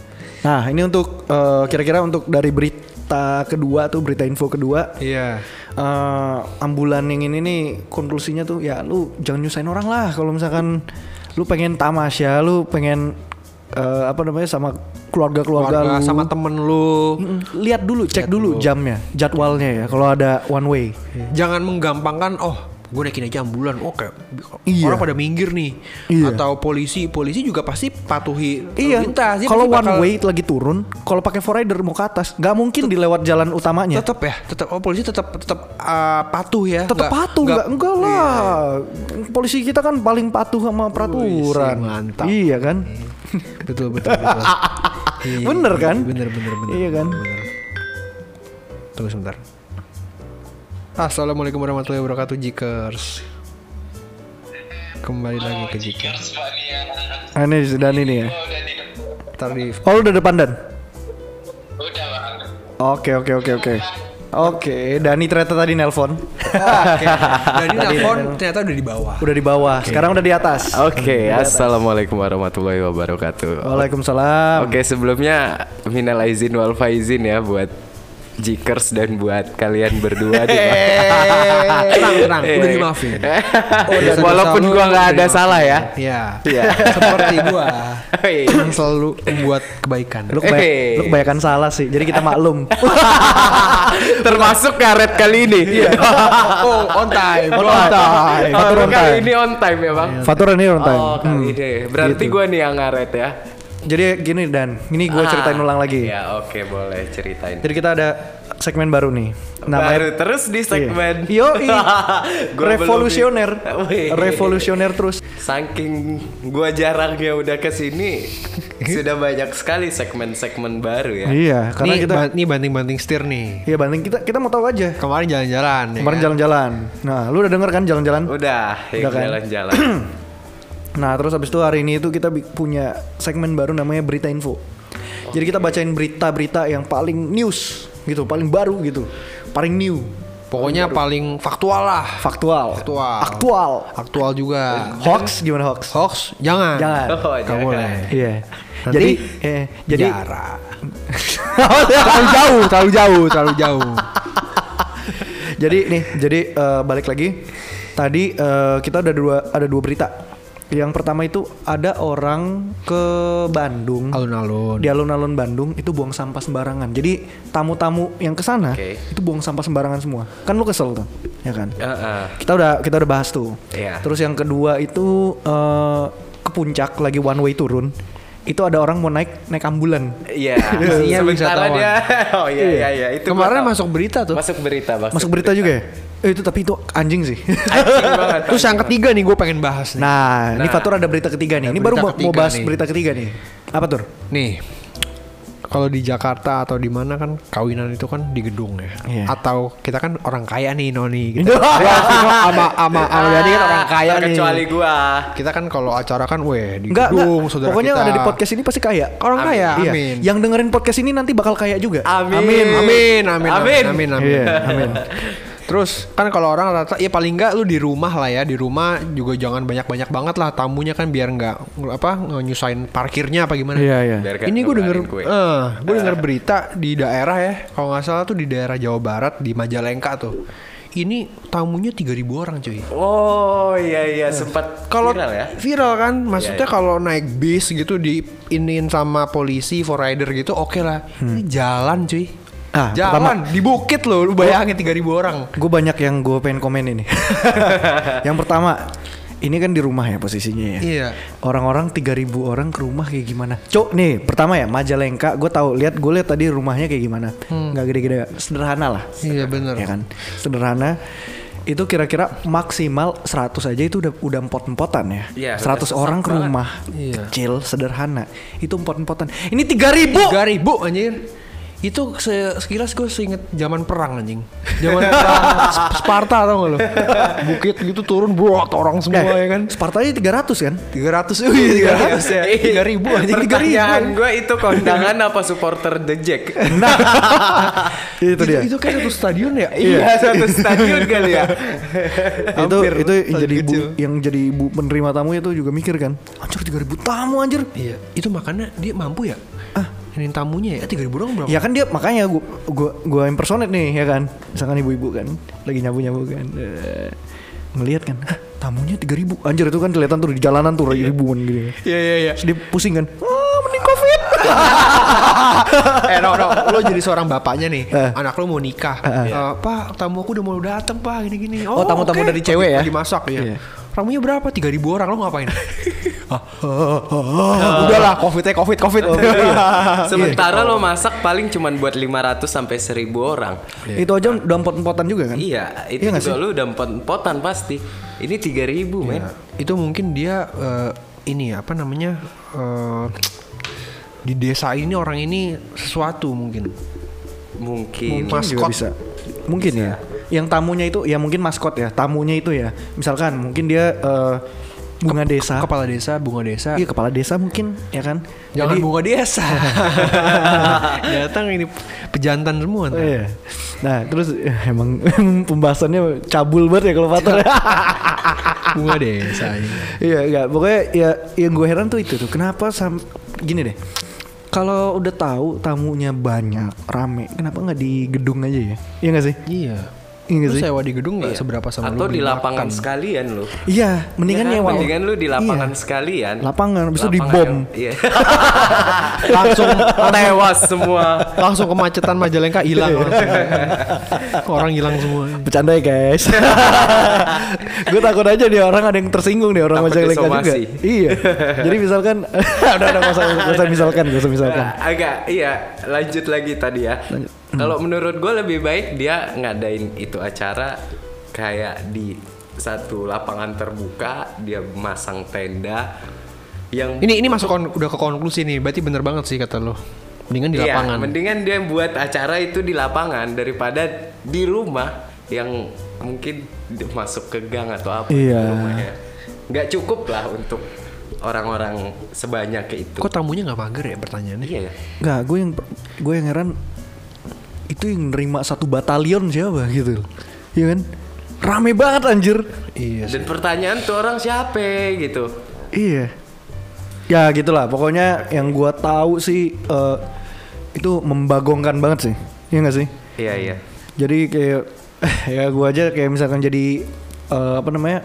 Nah, ini untuk eh, kira-kira untuk dari berita kedua tuh berita info kedua Iya. eh ambulan yang ini nih konklusinya tuh ya lu jangan nyusahin orang lah kalau misalkan lu pengen tamasya lu pengen eh, apa namanya sama keluarga-keluarga Keluarga lu sama temen lu. Mm, lihat dulu cek dulu jamnya jadwalnya ya kalau ada one way Jangan menggampangkan oh gue naikin aja ambulan oke Iya. orang pada minggir nih Iya. atau polisi polisi juga pasti patuhi lalu iya lintas. Dia kalau pasti one bakal- way lagi turun kalau pakai four rider mau ke atas nggak mungkin dilewat jalan utamanya tetap ya tetap oh polisi tetap tetap eh, patuh ya Nggak- tetap patuh nggak- iya. nggak enggak lah polisi kita kan paling patuh sama peraturan mantap. iya kan betul betul, betul. Iya, Bener iya, kan? bener bener bener Iya kan? bener, bener. tunggu sebentar Ah, assalamualaikum warahmatullahi wabarakatuh jikers kembali lagi ke jikers Nah, ini sudah ini nih ya ntar di oh lu udah depan dan Udah bang. Oke oke oke oke. Oke, Dani ternyata tadi nelpon. dan Nah, ini telepon ternyata udah di bawah udah di bawah, sekarang udah di atas. Oke, assalamualaikum warahmatullahi wabarakatuh. Waalaikumsalam. Oke, sebelumnya minal aizin wal faizin ya buat Jikers dan buat kalian berdua di Oh, Eh, tenang tenang udah dimaafin Oh, udah iya, Eh. Walaupun salah, gua nggak udah ada dimaafin. salah ya. ya Iya. Oh, seperti gua Hei. yang selalu membuat kebaikan Lu, kebay- Eh. lu kebanyakan salah sih, jadi kita maklum. Termasuk karet kali ini. oh on time Iya. On time, Fatur Baru on kali time. ini on time ya, Bang. Fatur ini on time. Oh, Hmm. kali ini. Berarti gua nih yang ngaret ya. Jadi gini Dan, ini gue Ah. ceritain ulang lagi. Ya, oke boleh ceritain. Jadi kita ada segmen baru nih. Baru terus di segmen. Yo, Gua belum- Iya. revolusioner, Wih. revolusioner terus. Saking gua jarangnya udah kesini, sudah banyak sekali segmen-segmen baru ya. Iya, karena nih, kita, ba- nih banting-banting setir nih. iya banding kita kita mau tahu aja. Kemarin jalan-jalan. ya Kemarin Iya. kan? jalan-jalan. Nah, lu udah denger kan jalan-jalan? Udah, Udah yuk kan? jalan-jalan. Nah terus habis itu hari ini itu kita bi- punya segmen baru namanya berita info. Jadi kita bacain berita-berita yang paling news gitu, paling baru gitu, paling new, Pokoknya paling faktual lah. faktual, Faktual. aktual, Aktual juga. Iya. hoax gimana hoax? Hoax jangan. Jangan. Oh, Gak jangan. boleh. Iya. Nanti Jadi, eh, jadi Jarak. terlalu jauh, terlalu jauh, terlalu jauh. jadi nih, jadi eh, balik lagi. Tadi eh, kita ada dua ada dua berita. Yang pertama itu ada orang ke Bandung. Alun-alun. di alun-alun Bandung itu buang sampah sembarangan. Jadi tamu-tamu yang ke sana Oke. itu buang sampah sembarangan semua. Kan lu kesel tuh, ya kan? Heeh. Kita udah kita udah bahas tuh. Iya. Terus yang kedua itu eh, ke puncak lagi one way turun. itu ada orang mau naik naik ambulan. Iya. Iya, Sementara wisatawan. dia. Oh iya iya iya. Itu gua Kemarin tahu. masuk berita tuh. Masuk berita Masuk berita juga ya? Eh, itu tapi itu anjing sih. Anjing banget. Terus yang ketiga nih gue pengen bahas nih. nah, ini Fatur ada berita ketiga nih. Ini baru berita mau, mau ketiga bahas nih. berita ketiga nih. Apa tuh? Nih, kalau di Jakarta atau di mana kan kawinan itu kan di gedung ya. Iya. Atau kita kan orang kaya nih Noni. Gitu. Gua Vino sama sama sama Dani kan orang kaya nih. Kecuali gua. Kita kan kalau acara kan, weh di Enggak, gedung, enggak. saudara Pokoknya kita. yang ada di podcast ini pasti kaya. Orang Amin. kaya, Iya. amin. Yang dengerin podcast ini nanti bakal kaya juga. Amin. Amin, amin, amin, amin, Amin. amin, amin. Iya, amin. Terus kan kalau orang rata ya paling nggak lu di rumah lah ya di rumah juga jangan banyak-banyak banget lah tamunya kan biar nggak apa nyusahin parkirnya apa gimana. Iya, iya. Biar kayak Ini gue denger, ngeluarin kue. Iya. eh, gue denger berita di daerah ya, kalau nggak salah tuh di daerah Jawa Barat di Majalengka tuh. Ini tamunya 3.000 orang cuy. Oh iya iya sempat Kalau viral viral, ya. iya. kan, maksudnya kalau naik bis gitu di iniin sama polisi, for rider gitu, oke lah. Ini Hmm. jalan cuy. Ah, jalan di bukit loh, lu bayangin 3.000 orang. Gue banyak yang gue pengen komen ini. yang pertama, ini kan di rumah ya posisinya ya. Iya. Orang-orang 3000 orang ke rumah kayak gimana? Cok nih, pertama ya Majalengka, gue tahu lihat gue lihat tadi rumahnya kayak gimana. nggak gede-gede, sederhana lah. Iya bener. Ya kan? Sederhana. Itu kira-kira maksimal 100 aja itu udah udah empot-empotan ya. Iya, udah 100 sesak orang ke banget. rumah. Iya. Kecil, sederhana. Itu empot-empotan. Ini 3000. 3.000 anjir. Itu se- sekilas gue seinget zaman perang anjing. Zaman perang Sp- Sparta tau gak lo? Bukit gitu turun buat orang semua ya kan. Spartanya 300 kan? 300 wih 300 ya. 3000 anjing 3000. Pertanyaan gue itu kondangan apa supporter The Jack? Iya. Nah. itu dia. Itu kayak satu stadion ya? Iya satu stadion kali ya. itu Hampir itu yang tadi jadi ibu kecil. yang jadi ibu penerima tamu itu juga mikir kan anjir 3000 tamu anjir Iya, itu makanya dia mampu ya? Ah, ini tamunya ya 3000 orang berapa? ya kan dia makanya gua gua gua impersonate nih ya kan misalkan ibu-ibu kan lagi nyabu-nyabu kan eh, ngelihat kan "Hah, tamunya 3000 anjir itu kan kelihatan tuh di jalanan tuh ribuan gitu Iya iya iya. terus dia pusing kan ah mending covid eh no no, lo jadi seorang bapaknya nih, Eh. anak lo mau nikah. Eh, pak, tamu aku udah mau datang pak, gini gini. Oh, tamu-tamu oke. dari cewek ya? Lagi masak ya. Iya. Tamunya berapa? 3000 orang lo ngapain? Ah, ah, ah, ah. Udahlah, covid ya covid covid. Iya. Sementara lo masak paling cuman buat 500 sampai 1000 orang. itu aja udah empot-empotan juga kan Iya, Iya itu nggak Iya. juga lo udah empot-empotan pasti. Ini 3000 men. itu mungkin dia eh, ini ya, apa namanya eh, di desa ini orang ini sesuatu mungkin. Mungkin. Mungkin. Mungkin juga Maskot. bisa. Mungkin ya. Yang tamunya itu ya mungkin maskot ya. Tamunya itu ya. Misalkan mungkin dia eh, bunga desa. Kepala desa, bunga desa. Iya kepala desa mungkin ya kan. Jangan Jadi- bunga desa. Datang ini pejantan semua. Oh, ntar. iya. Nah terus eh, emang pembahasannya cabul banget ya kalau Fatur. Iya. Ah, Bunga desa. ini. Iya enggak. Pokoknya ya yang gue heran tuh itu tuh. Kenapa sam gini deh. Kalau udah tahu tamunya banyak, rame, kenapa nggak di gedung aja ya? Iya nggak sih? Iya. Iya nggak Lu sih? sewa di gedung nggak seberapa sama Atau lu di beli makan? lapangan sekalian lo. Iya, mendingan Ya kan? nyewa. Mendingan lu di lapangan Iya. sekalian. Lapangan, habis itu Lapangan dibom. yang- Iya. Langsung Tewas semua. langsung kemacetan Majalengka hilang orang semua. orang hilang semua. Bercanda ya guys Gue takut aja nih orang ada yang tersinggung nih orang Takut Majalengka juga disomasi. Iya Jadi misalkan Udah udah gak usah, gak usah misalkan Gak usah misalkan Nah, agak iya lanjut lagi tadi ya. Hmm. Kalau menurut gue lebih baik dia ngadain itu acara kayak di satu lapangan terbuka dia masang tenda yang Ini ini masuk kon- udah ke konklusi nih. Berarti bener banget sih kata lo. Mendingan di Iya, lapangan. mendingan dia buat acara itu di lapangan daripada di rumah yang mungkin di- masuk ke gang atau apa Iya. rumahnya. Nggak cukup lah untuk orang-orang sebanyak itu. Kok tamunya nggak mager ya pertanyaannya? Iya ya. Gak gue yang Gue yang heran Itu yang nerima satu batalion siapa gitu Iya kan Rame banget anjir Iya. Dan pertanyaan tuh orang siapa gitu. Iya Ya gitulah pokoknya yang gue tahu sih eh, Itu membagongkan banget sih Iya gak sih Iya iya. Jadi kayak ya gua aja kayak misalkan jadi eh, apa namanya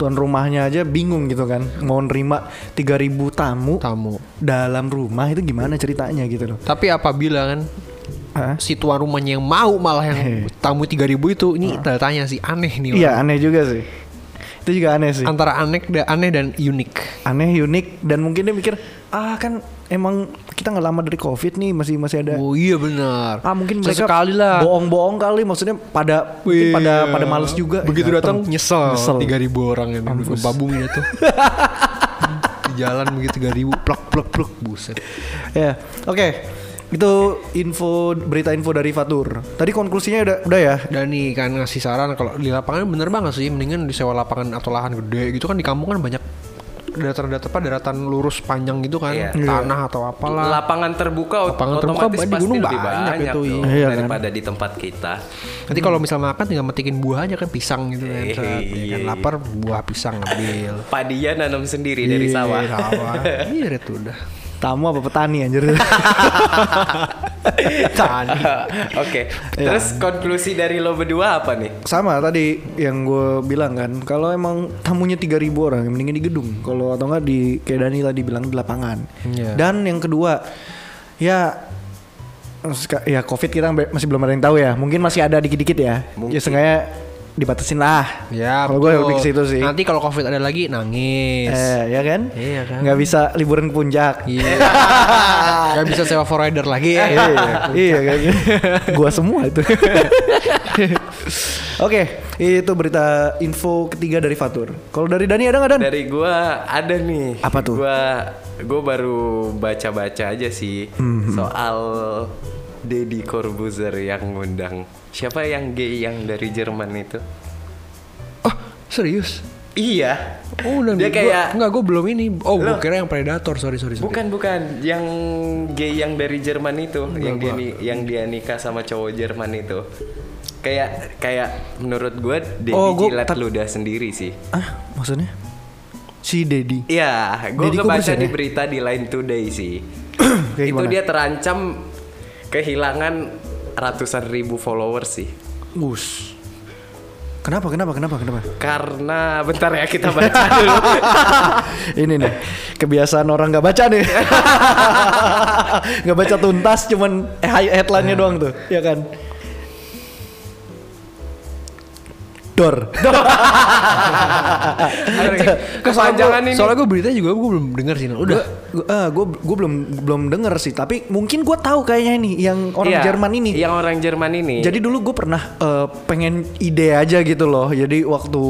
tuan rumahnya aja bingung gitu kan mau nerima 3000 tamu Tamu. dalam rumah itu gimana ceritanya gitu loh. Tapi apabila kan Hah? si tuan rumahnya Iya. yang mau malah yang tamu 3000 itu ini tanda tanya sih aneh nih orang. Iya aneh Iya, juga sih. itu juga aneh sih Antara aneh, da- aneh dan unik. aneh unik dan mungkin dia mikir ah kan emang kita nggak lama dari covid nih masih masih ada Oh iya benar. ah mungkin mereka sekali lah. bohong-bohong kali maksudnya pada mungkin Wih, pada pada males juga Begitu Ya, datang nyesel. Nyesel. 3000 orang yang duduk babung ya tuh. Di jalan begitu 3000 plak plak plak buset. Ya, oke. Itu info berita info dari Fatur. Tadi konklusinya udah udah ya. Dan nih kan ngasih saran kalau di lapangan bener banget sih mendingan disewa lapangan atau lahan gede gitu kan di kampung kan banyak daratan-daratan apa daratan lurus panjang gitu kan Iya. tanah atau apalah Lapangan terbuka ot- Lapangan terbuka otomatis banyak, di pasti gunung lebih banyak banyak, itu, dong iya. Iya kan? daripada di tempat kita. nanti kalau misal makan tinggal metikin buah aja kan pisang gitu kan Iya. set, ya kan lapar buah pisang ambil Padinya nanam sendiri dari Iya, sawah. sawah irit udah Tamu apa petani anjir. Tani. Iya. Oke. Terus konklusi dari lo berdua apa nih? Sama tadi yang gue bilang kan, kalau emang tamunya 3000 orang, mendingan di gedung. Kalau atau enggak di kayak Dani tadi bilang di lapangan. Iya. Dan yang kedua, ya seka- ya covid kita sampai- masih belum ada yang tahu ya. Mungkin masih ada dikit-dikit ya. Ya sengaja dibatasin lah. Ya, Kalau gue betul. lebih ke situ sih. Nanti kalau covid ada lagi nangis. Eh, ya kan? Iya kan. Nggak bisa liburan ke puncak. Iya. Gak bisa sewa forwarder lagi. iya, iya kan. Gua semua itu. Oke, itu berita info ketiga dari Fatur. Kalau dari Dani ada nggak Kan. Dan? Dari gua ada nih. Apa tuh? Gua gua baru baca-baca aja sih Hmm, soal Deddy Corbuzier yang ngundang. Siapa yang gay yang dari Jerman itu? Oh, serius? Iya. Oh, dan dia gua- kayak enggak gue belum ini. Oh, gue kira yang predator. Sorry, sorry, sorry. bukan bukan yang gay yang dari Jerman itu yang dia ni- yang dia nikah sama cowok Jerman itu. Kayak kayak menurut gua Deddy Oh, gua- jilat tap- ludah sendiri sih. Ah, maksudnya? Si Dedi. Iya, gue Deddy kebaca Corbuzier di ya? berita di Line Today sih. Kayak itu gimana? dia terancam kehilangan ratusan ribu followers sih. Us. Kenapa? Kenapa? Kenapa? Kenapa? Karena bentar ya kita baca dulu. Ah, Ini nih kebiasaan orang nggak baca nih. Nggak baca tuntas, cuman hi- headline-nya doang tuh, ya kan? Dor. Anjing, Kepanjangan Kepanjangan ini. Soalnya gue berita juga gue belum denger sih. Nal. Udah. gue eh, belum belum denger sih tapi mungkin gue tahu kayaknya ini yang orang Iya, Jerman ini Yang orang Jerman ini. jadi dulu gue pernah eh, pengen ide aja gitu loh jadi waktu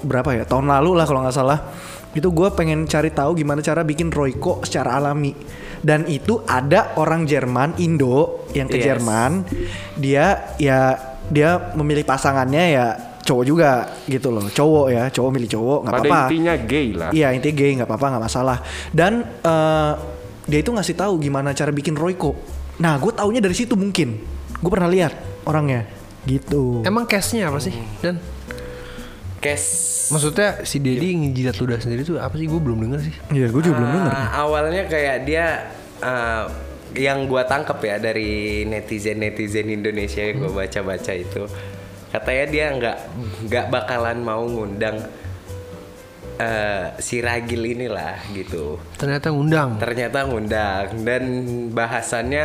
berapa ya tahun lalu lah kalau nggak salah itu gue pengen cari tahu gimana cara bikin Royco secara alami dan itu ada orang Jerman Indo yang ke Yes. Jerman dia ya dia memilih pasangannya ya cowok juga gitu loh cowok ya cowok milih cowok nggak pada apa-apa intinya gay lah. Iya intinya gay nggak apa-apa nggak masalah. Dan eh, dia itu ngasih tahu gimana cara bikin Royco. Nah gue taunya dari situ mungkin. Gue pernah lihat orangnya. Gitu. Emang case-nya apa sih? Dan Kes. maksudnya si Dedi Iya. ngejilat ludah sendiri tuh apa sih? Gue belum denger sih. Iya gue juga belum denger. Ah, awalnya kayak dia eh, yang gua tangkep ya dari netizen netizen Indonesia yang gua baca baca itu katanya dia nggak nggak bakalan mau ngundang eh, si ragil inilah gitu Ternyata ngundang. ternyata ngundang dan bahasannya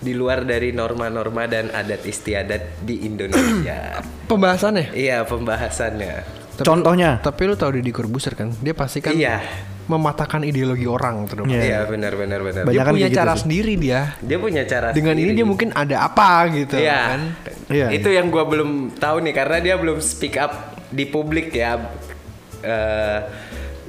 di luar dari norma-norma dan adat istiadat di Indonesia Pembahasannya. iya pembahasannya Tapi- Contohnya. Tapi lu tahu Deddy Corbuzier kan? Dia pasti kan ya. Iya. mematahkan ideologi orang terus. Iya. iya benar benar benar Dia Banyakan punya kayak gitu cara sih. sendiri dia. dia punya cara Dengan ini sendiri. dia mungkin ada apa gitu Iya. kan. Iya, Itu yang gua belum tahu nih karena dia belum speak up di publik ya. Eh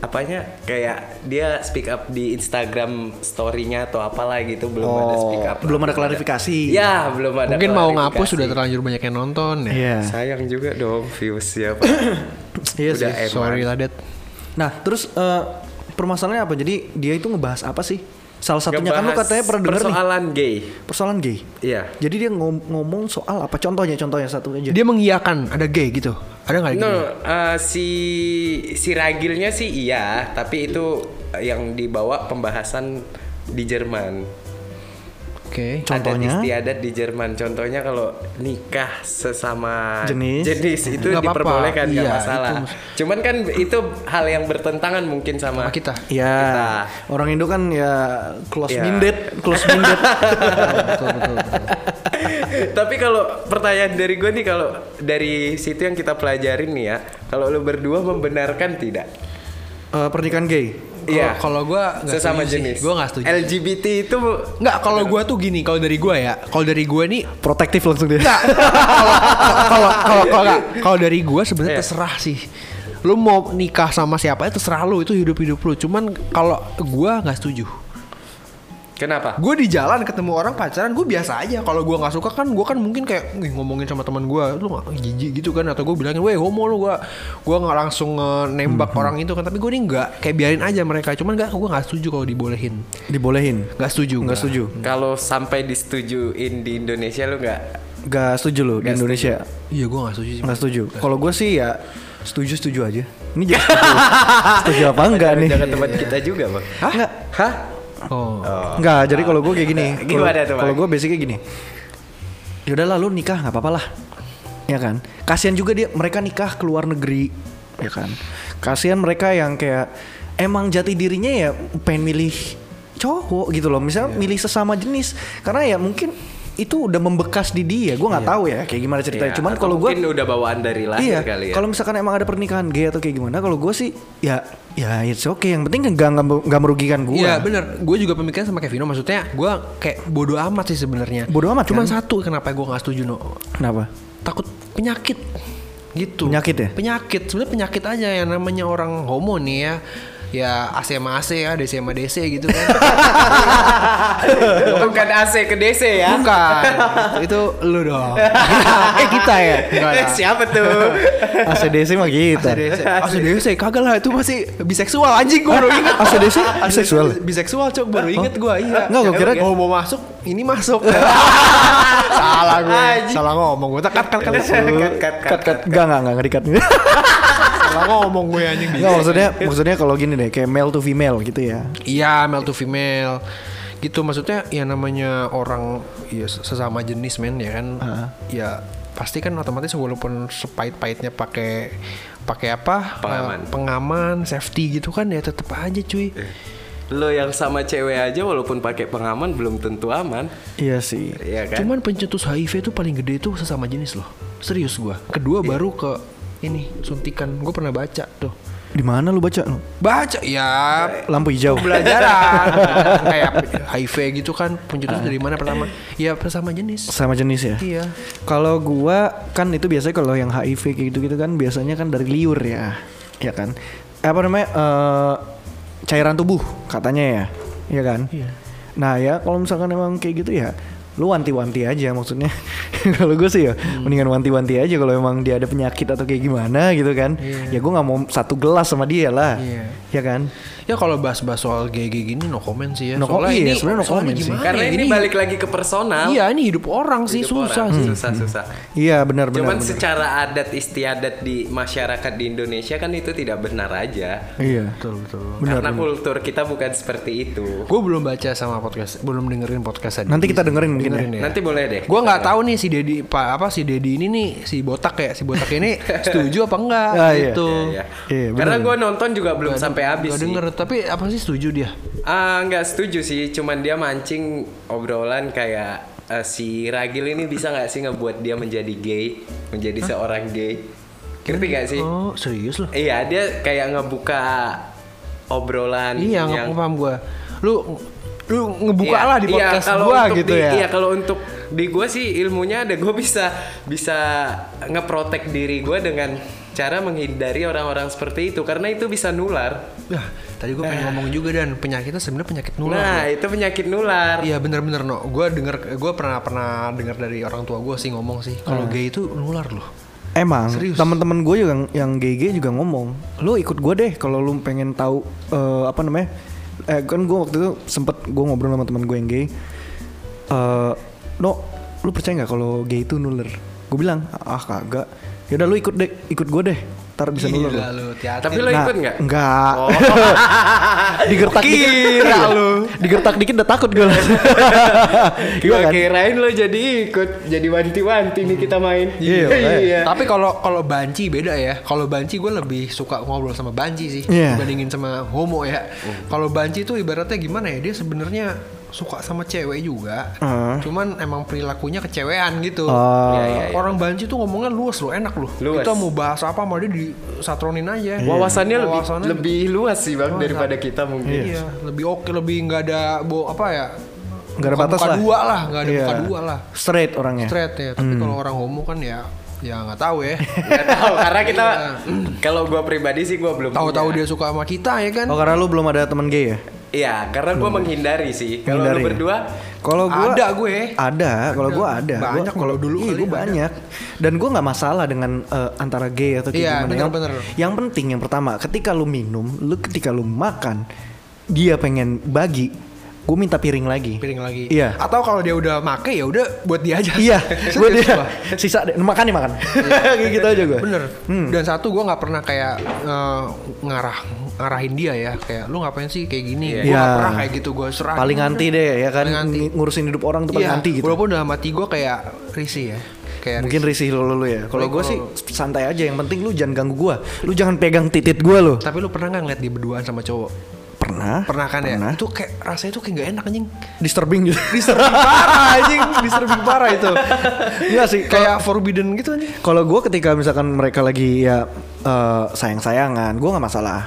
apanya kayak dia speak up di Instagram story-nya atau apalah gitu belum ada speak up. Oh, belum ada klarifikasi. Ya, belum ada. Mungkin mau klarifikasi. ngapus sudah terlanjur banyak yang nonton ya. Iya. Sayang juga dong views-nya. Pak. Iya Udah sih. emang. Sorry lah Dad. Nah terus eh, permasalahannya apa? Jadi dia itu ngebahas apa sih? Salah satunya kan lu Ngebahas katanya pernah denger nih persoalan gay. persoalan gay. Iya. Jadi dia ngom- ngomong soal apa? Contohnya, contohnya satu aja. Dia mengiyakan ada gay gitu. Ada nggak No, gitu? eh, si si ragilnya sih iya, tapi itu yang dibawa pembahasan di Jerman. Oke. Contohnya? adat istiadat di Jerman contohnya kalau nikah sesama Jenis? itu Nggak apa-apa. diperbolehkan nggak Iya, masalah itu- cuman kan itu hal yang bertentangan mungkin sama, Sama kita. Ya, kita. orang Indo kan ya close Ya. minded, close minded. betul, betul, betul. tapi kalau pertanyaan dari gue nih kalau dari situ yang kita pelajarin nih ya Kalau lu berdua membenarkan tidak? Eh, pernikahan gay. Iya. Kalau gue sesama jenis. gue nggak setuju. LGBT itu Nggak, kalau gue tuh gini, kalau dari gue ya, kalau dari gue nih Protektif langsung dia. Nggak, kalau kalau kalau kalau nggak, kalau dari gue Iya. sebenarnya terserah sih. Lu mau nikah sama siapa aja terserah lu itu hidup hidup lu. Cuman kalau gue nggak setuju. kenapa? Gue di jalan ketemu orang pacaran gue biasa aja. Kalau gue nggak suka kan gue kan mungkin kayak "Wih, ngomongin sama teman gue lu nggak jijik gitu kan atau gue bilangin, weh homo lu gue gue nggak langsung eh, Mhm. nembak orang itu kan. Tapi gue nih nggak kayak biarin aja mereka. Cuman nggak gue nggak setuju kalau dibolehin. Dibolehin. Nggak setuju. Nggak gua. setuju. Kalau sampai disetujuin di Indonesia lu nggak? Nggak setuju lu di Indonesia. Iya gue nggak setuju sih. Nggak setuju. Kalau gue sih ya setuju-setuju aja. Ini jadi setuju. setuju apa enggak nih? Jangan teman kita juga bang. Hah? Hah? Oh. Enggak, jadi kalau gue kayak gini. kalau- Gimana tuh, Bang? Kalau gue basicnya gini. Yaudah lah lu nikah nggak apa-apa lah. Ya kan? Kasihan juga dia mereka nikah ke luar negeri, ya kan? Kasihan mereka yang kayak emang jati dirinya ya pengen milih cowok gitu loh. Iya. Misalnya milih sesama jenis karena ya mungkin itu udah membekas di dia. Gue nggak tahu ya kayak gimana Iya, ceritanya. Ya, Cuman Iya. atau kalau gue mungkin udah bawaan dari lahir iya, kali ya. Kalau misalkan emang ada pernikahan gay atau kayak gimana, kalau gue sih ya ya it's okay. Yang penting nggak nggak- nggak merugikan gue. Iya bener, gue juga pemikiran sama Kevino maksudnya gue kayak bodoh amat sih sebenarnya. Bodoh amat, Cuman kan? satu kenapa gue nggak setuju no, Kenapa? takut penyakit gitu. Penyakit ya? Penyakit, sebenarnya penyakit aja yang namanya orang homo nih ya ya AC sama AC ya, DC sama DC gitu kan Bukan AC ke DC ya? Bukan, itu lu dong Eh kita ya? Enggak lah. Siapa tuh? ACDC mah gitu. ACDC, ACDC kagak lah itu masih biseksual anjing gue baru inget ACDC biseksual? Biseksual cok baru inget gue iya Nggak, gua kira- Mau mau masuk ini masuk Salah gue Salah ngomong gue Tekat kan kan Cut, cut, cut. Cut cut enggak enggak enggak di-cut. Salah ngomong gue anjing Enggak maksudnya maksudnya kalau gini deh kayak male to female gitu ya. Iya male to female gitu maksudnya ya namanya orang ya sesama jenis men ya kan ya pasti kan otomatis walaupun sepait-paitnya pakai pakai apa Pengaman. Eh, eh, pengaman safety gitu kan ya tetap aja cuy Lo yang sama cewek aja walaupun pakai pengaman belum tentu aman. Iya sih. Iya kan? cuman pencetus HIV itu paling gede itu sesama jenis loh serius gua Iya. kedua baru ke ini suntikan gue pernah baca tuh Di mana lu baca? lu? baca ya Lampu hijau. pelajaran kayak HIV gitu kan pencetus dari mana pertama ya sesama jenis Sama jenis ya. Iya. Kalau gua kan itu biasanya kalau yang HIV kayak gitu-gitu kan biasanya kan dari liur ya. Ya kan. Apa namanya? eh, cairan tubuh katanya ya. Iya kan? Nah, ya kalau misalkan emang kayak gitu ya lu wanti-wanti aja maksudnya kalau gue sih ya mendingan wanti-wanti aja kalau emang dia ada penyakit atau kayak gimana gitu kan ya gue nggak mau satu gelas sama dia lah Iya. ya kan Ya kalau bahas-bahas soal GG gini no comment sih ya. No Soalnya comment, iya, ini- sebenarnya no soalnya comment sih. gimana Karena ya, ini, balik lagi ke personal. Iya, ini hidup orang sih Hidup susah orang. sih. Susah, susah. iya benar-benar Cuman secara adat istiadat di masyarakat di Indonesia kan itu tidak benar aja. iya Betul betul. Karena kultur kita bukan seperti itu. Gue belum baca sama podcast, belum dengerin podcast tadi. nanti kita dengerin mungkin ya. dengerin ya. Nanti boleh deh. Gue nggak tahu nih si Dedi pa- apa si Dedi ini nih si botak ya si botak ini setuju apa enggak Ah, iya. gitu. Iya. Iya, Karena gue nonton juga belum sampai habis Gak sih. denger tapi apa sih setuju dia? Ah, nggak setuju sih, cuman dia mancing obrolan kayak eh, si Ragil ini bisa nggak sih ngebuat dia menjadi gay, menjadi seorang gay. Ngerti nggak sih? Oh serius loh? Iya, dia kayak ngebuka obrolan Iya nggak yang paham gue. Lu lu ngebuka Iya, lah di iya, podcast kalau gua untuk gitu di- ya. Iya, kalau untuk di gua sih ilmunya ada gua bisa bisa ngeprotek diri gua dengan cara menghindari orang-orang seperti itu karena itu bisa nular. Nah, tadi gue pengen ngomong juga dan penyakitnya sebenarnya penyakit nular. Nah, itu penyakit nular. Iya bener-bener no, gue denger gue pernah pernah denger dari orang tua gue sih ngomong sih kalau Hmm. gay itu nular loh. Emang Serius. teman-teman gue yang yang GG juga ngomong, lu ikut gue deh kalau lu pengen tahu eh, apa namanya. Eh, kan gue waktu itu sempet gue ngobrol sama teman gue yang gay. Eh, no, lu percaya nggak kalau gay itu nular? Gue bilang ah kagak. Yaudah lu ikut deh, ikut gue deh. Ntar bisa nular. Gila lu, lu." hati-hati. Tapi lo Nah, ikut nggak? Enggak. Oh. digertak Kira dikit, lu. digertak dikit udah takut gue. Iya Gua kan? kirain lo jadi ikut, jadi wanti-wanti nih kita main. Iya, makanya. Tapi kalau kalau banci beda ya. Kalau banci gue lebih suka ngobrol sama banci sih Iya. Oh. dibandingin sama homo ya. Kalau banci itu ibaratnya gimana ya? Dia sebenarnya suka sama cewek juga. Ah. Cuman emang perilakunya kecewean gitu. Oh. Iya, iya, iya. Orang Banci tuh ngomongnya luas loh, enak loh. Luas. Kita mau bahas apa sama dia disatronin aja. Iya. Wawasannya lebih Wawasannya lebih luas sih bang daripada kita mungkin. Iya, lebih oke, lebih nggak ada bo apa ya? Nggak ada muka- batas muka lah. dua lah, nggak ada Iya. Hmm. muka dua lah. Straight orangnya. Straight ya. Tapi kalau orang homo kan ya, ya nggak tahu ya. Nggak tahu karena kita kalau gua pribadi sih gua belum. Tahu-tahu Iya. punya. dia suka sama kita ya kan? Oh karena lu belum ada teman gay ya? Iya, karena Hmm. gua menghindari sih. Kalau lu Hindari. berdua Kalau gua Ada gue. Ada, kalau gua ada. Gua- Eh, Banyak kalau dulu Iya, kali gua ada. banyak. Dan gua nggak masalah dengan eh, antara gay atau kayak Iya, gimana. bener, yang, bener. yang penting yang pertama, ketika lu minum, lu ketika lu makan, dia pengen bagi, gua minta piring lagi. piring lagi. Iya. Atau kalau dia udah make ya udah buat dia aja. Iya, Serius buat dia gua. sisa deh, makan nih makan. Kayak gitu aja gua. Bener. Dan satu gue nggak pernah kayak eh, ngarah ngarahin dia ya kayak lu ngapain sih kayak gini. Gue Iya. nggak pernah kayak gitu gue serah. Paling anti deh ya kan Paling anti. ng- ngurusin hidup orang tuh paling Iya, anti gitu. Walaupun udah mati gue kayak risih ya. Kayak Mungkin risih. risih lo lo ya. Kalau Tapi gua sih kalau- santai aja, yang penting lu jangan ganggu gua. Lu jangan pegang titit gua lo. Tapi lu pernah nggak ngeliat dia berduaan sama cowok? Pernah? Pernah kan Pernah. ya? Itu kayak rasanya tuh kayak nggak enak anjing. disturbing gitu. juga. Disturbing parah anjing, disturbing parah itu. Iya sih. kayak Kayak forbidden gitu anjing. kalau gue ketika misalkan mereka lagi ya eh, sayang-sayangan, gue nggak masalah.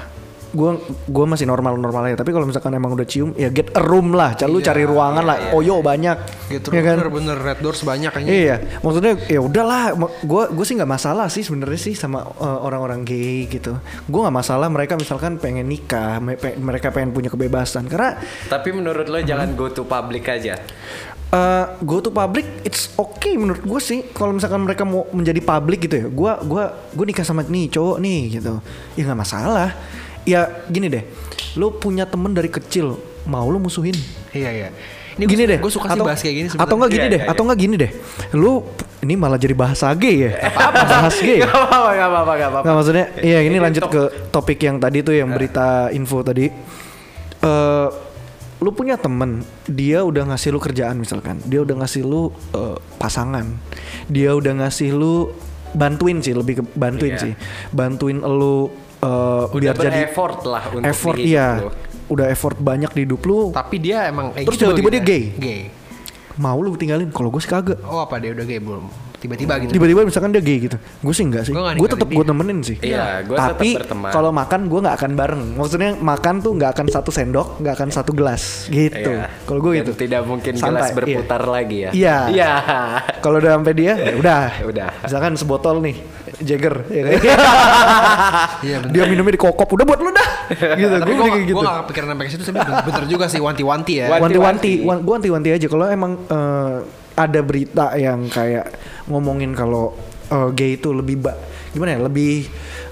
Gue gua masih normal-normal aja. Tapi kalau misalkan emang udah cium, ya get a room lah. Cari lu cari ruangan lah. Oyo iya. banyak. Gitu ya kan? bener-bener red doors banyak anjing. Iya, maksudnya ya udahlah. Gue gue sih nggak masalah sih sebenarnya sih sama eh, orang-orang gay gitu. Gue nggak masalah mereka misalkan pengen nikah, me- pe- mereka pengen punya kebebasan. Karena tapi menurut lo jangan Hmm. go to public aja. Eh, go to public it's okay menurut gue sih kalau misalkan mereka mau menjadi public gitu ya gue gua gue nikah sama nih cowok nih gitu ya nggak masalah ya gini deh lo punya temen dari kecil mau lo musuhin Iya iya. gini deh Gue suka sih bahas kayak gini atau nggak gitu? gini Iya, deh iya, atau nggak gini deh lu ini malah jadi bahasa gay ya bahas gay ya? Gak apa-apa, gak apa-apa, gak apa-apa. Nggak maksudnya, iya ini Ini lanjut top- Nah. ke topik yang tadi tuh yang berita info tadi. Eh lu punya temen, dia udah ngasih lu kerjaan misalkan, dia udah ngasih lu eh, pasangan, dia udah ngasih lu bantuin sih, lebih ke bantuin Iya. sih, bantuin lu eh, biar jadi effort lah untuk effort di hidup iya, lo. udah effort banyak di hidup lu, Tapi dia emang kayak Terus gitu tiba-tiba gitu dia ya. gay. Gay. mau lu tinggalin? Kalau gue sih kagak. Oh apa dia udah gay belum? Tiba-tiba gitu. Tiba-tiba misalkan dia gay gitu, gue sih enggak sih, Gua nggak gue tetap ninggalin gue temenin sih. Iya, gua tetap Tapi berteman. kalau makan gue nggak akan bareng. Maksudnya makan tuh nggak akan satu sendok, nggak akan satu gelas gitu. Iya. Kalau gue Dan gitu. Tidak mungkin Santai, gelas berputar iya. lagi ya. Iya. Iya. Kalau udah sampai dia, ya udah, Udah. Misalkan sebotol nih, Jagger, ya kan? Iya bener. dia minumnya di kokop, udah buat lu dah. Gitu, Tapi gue gue kayak gitu. gak kepikiran sampai ke situ tapi bener, bener juga sih wanti-wanti ya. Wan- wanti-wanti, Wanti-wanti. wan, gue wanti-wanti aja. Kalau emang eh, ada berita yang kayak ngomongin kalau eh, gay itu lebih ba- gimana ya, lebih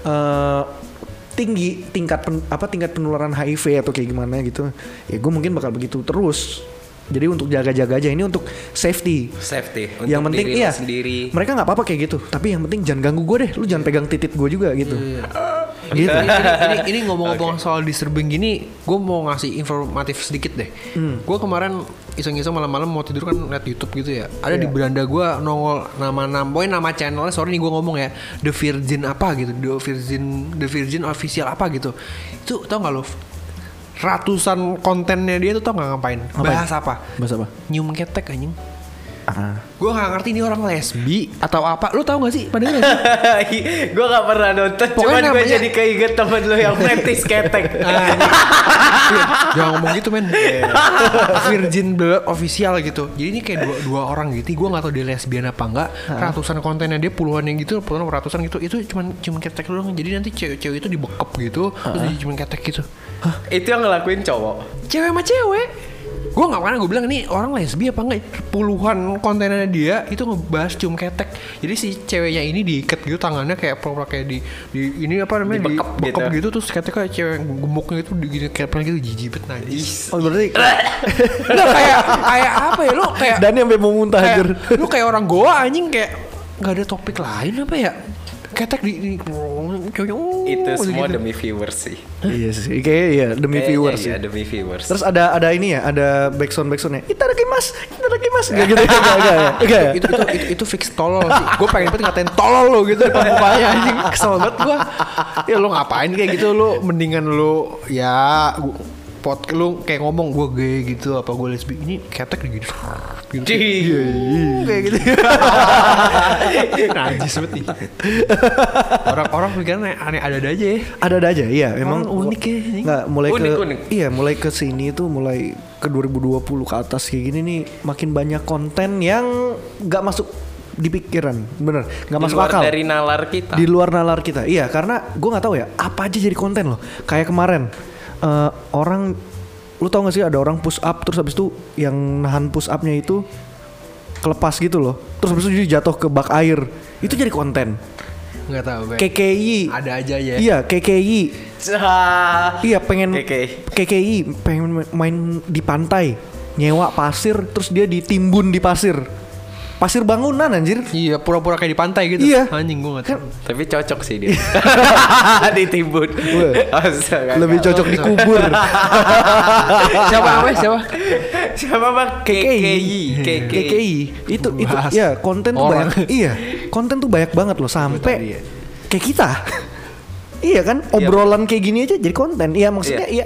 eh, tinggi tingkat pen- apa tingkat penularan HIV atau kayak gimana gitu, ya gue mungkin bakal begitu terus. Jadi untuk jaga-jaga aja ini untuk safety. Safety. Untuk yang penting diri lo iya Sendiri. mereka nggak apa-apa kayak gitu tapi yang penting jangan ganggu gue deh lu jangan pegang titit gue juga gitu Iya. Ini- ini, ini, ini ngomong-ngomong soal disturbing gini, gue mau ngasih informatif sedikit deh. Gue kemarin iseng-iseng malam-malam mau tidur kan liat YouTube gitu ya. Ada di beranda gue nongol nama nama, pokoknya nama channelnya sorry nih gue ngomong ya, The Virgin apa gitu, The Virgin, The Virgin official apa gitu. Itu tau gak lo? Ratusan kontennya dia tuh tau gak ngapain? Bahas apa? bahasa apa Nyium ketek anjing. ah. Gue gak ngerti ini orang lesbi atau apa. Lo tau gak sih? Padahal gak sih? gue gak pernah nonton. Pokoknya Cuman gue namanya- jadi keinget temen lo yang praktis ketek. Ah. Jangan ngomong gitu men Virgin Blood official gitu Jadi ini kayak dua, dua orang gitu Gue gak tau dia lesbian apa enggak Ratusan kontennya dia puluhan yang gitu Puluhan ratusan gitu Itu cuman cium ketek doang Jadi nanti cewek-cewek itu dibekep gitu Terus dia cium ketek gitu Itu yang ngelakuin cowok. Cewek sama cewek Gue gak pernah gue bilang ini orang lesbi apa enggak Puluhan kontennya dia itu ngebahas cium ketek Jadi si ceweknya ini diikat gitu tangannya kayak pura kayak di, di Ini apa namanya Dibekep dibekep gitu. gitu. Terus keteknya cewek gemuknya itu digini kayak gitu jijibet najis oh berarti Nggak, kayak kayak apa ya lu kayak, dan sampai mau muntah kayak anjir. lu kayak orang goa anjing kayak nggak ada topik lain apa ya ketek di, di Itu gitu. semua demi viewers sih. iya sih kayak iya Oh, demi Kayaknya viewers iya, sih. demi viewers. Terus ada ada ini ya, ada backsound backsoundnya. Itadakimasu, itadakimasu. Gak gitu, gak, gak, gak, ya? Gak ya? itu, itu, itu, itu fix tolol sih Gue pengen banget ngatain tolol lo gitu depan mukanya anjing Kesel banget gue Ya lo ngapain kayak gitu Lo mendingan lo Ya gua- pot lu kayak ngomong gue gay gitu apa gue lesbi ini ketek digini gitu. iya, kayak gitu. Najis banget nih. Orang-orang pikirannya aneh-ada aja ya. Ada-ada aja, iya. Memang Orang unik ya, ini. Nggak, mulai Oh, Unik, ke unik. iya, mulai ke sini tuh mulai ke 2020 ke atas kayak gini nih makin banyak konten yang nggak masuk di pikiran, bener, nggak masuk Keluar akal. dari nalar kita. di luar nalar kita iya karena gue nggak tahu ya apa aja jadi konten loh kayak kemarin eh, orang lu tau gak sih ada orang push up terus habis itu yang nahan push upnya itu kelepas gitu loh terus habis itu dia jatuh ke bak air itu jadi konten Enggak tahu Bay. KKI Ada aja ya. iya KKI Cah. Iya pengen KKI. KKI pengen ma- main di pantai nyewa pasir terus dia ditimbun di pasir pasir bangunan anjir Iya, pura-pura kayak di pantai gitu. Iya. Anjing gue nggak tahu. Tapi cocok sih dia. Ditimbun. Astaga. lebih cocok dikubur siapa namanya siapa? Siapa bang? KKI. KKI. KKI itu itu Bahas ya konten tuh orang. banyak iya konten tuh banyak banget loh tadi ya. sampai kayak kita iya kan obrolan kayak gini aja jadi konten iya maksudnya iya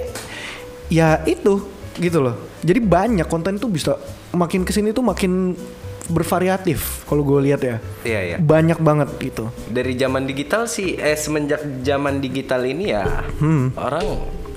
ya itu gitu loh jadi banyak konten tuh bisa makin kesini tuh makin bervariatif kalau gue lihat ya Iya, iya. banyak banget gitu Dari zaman digital sih, eh semenjak zaman digital ini ya, Hmm. orang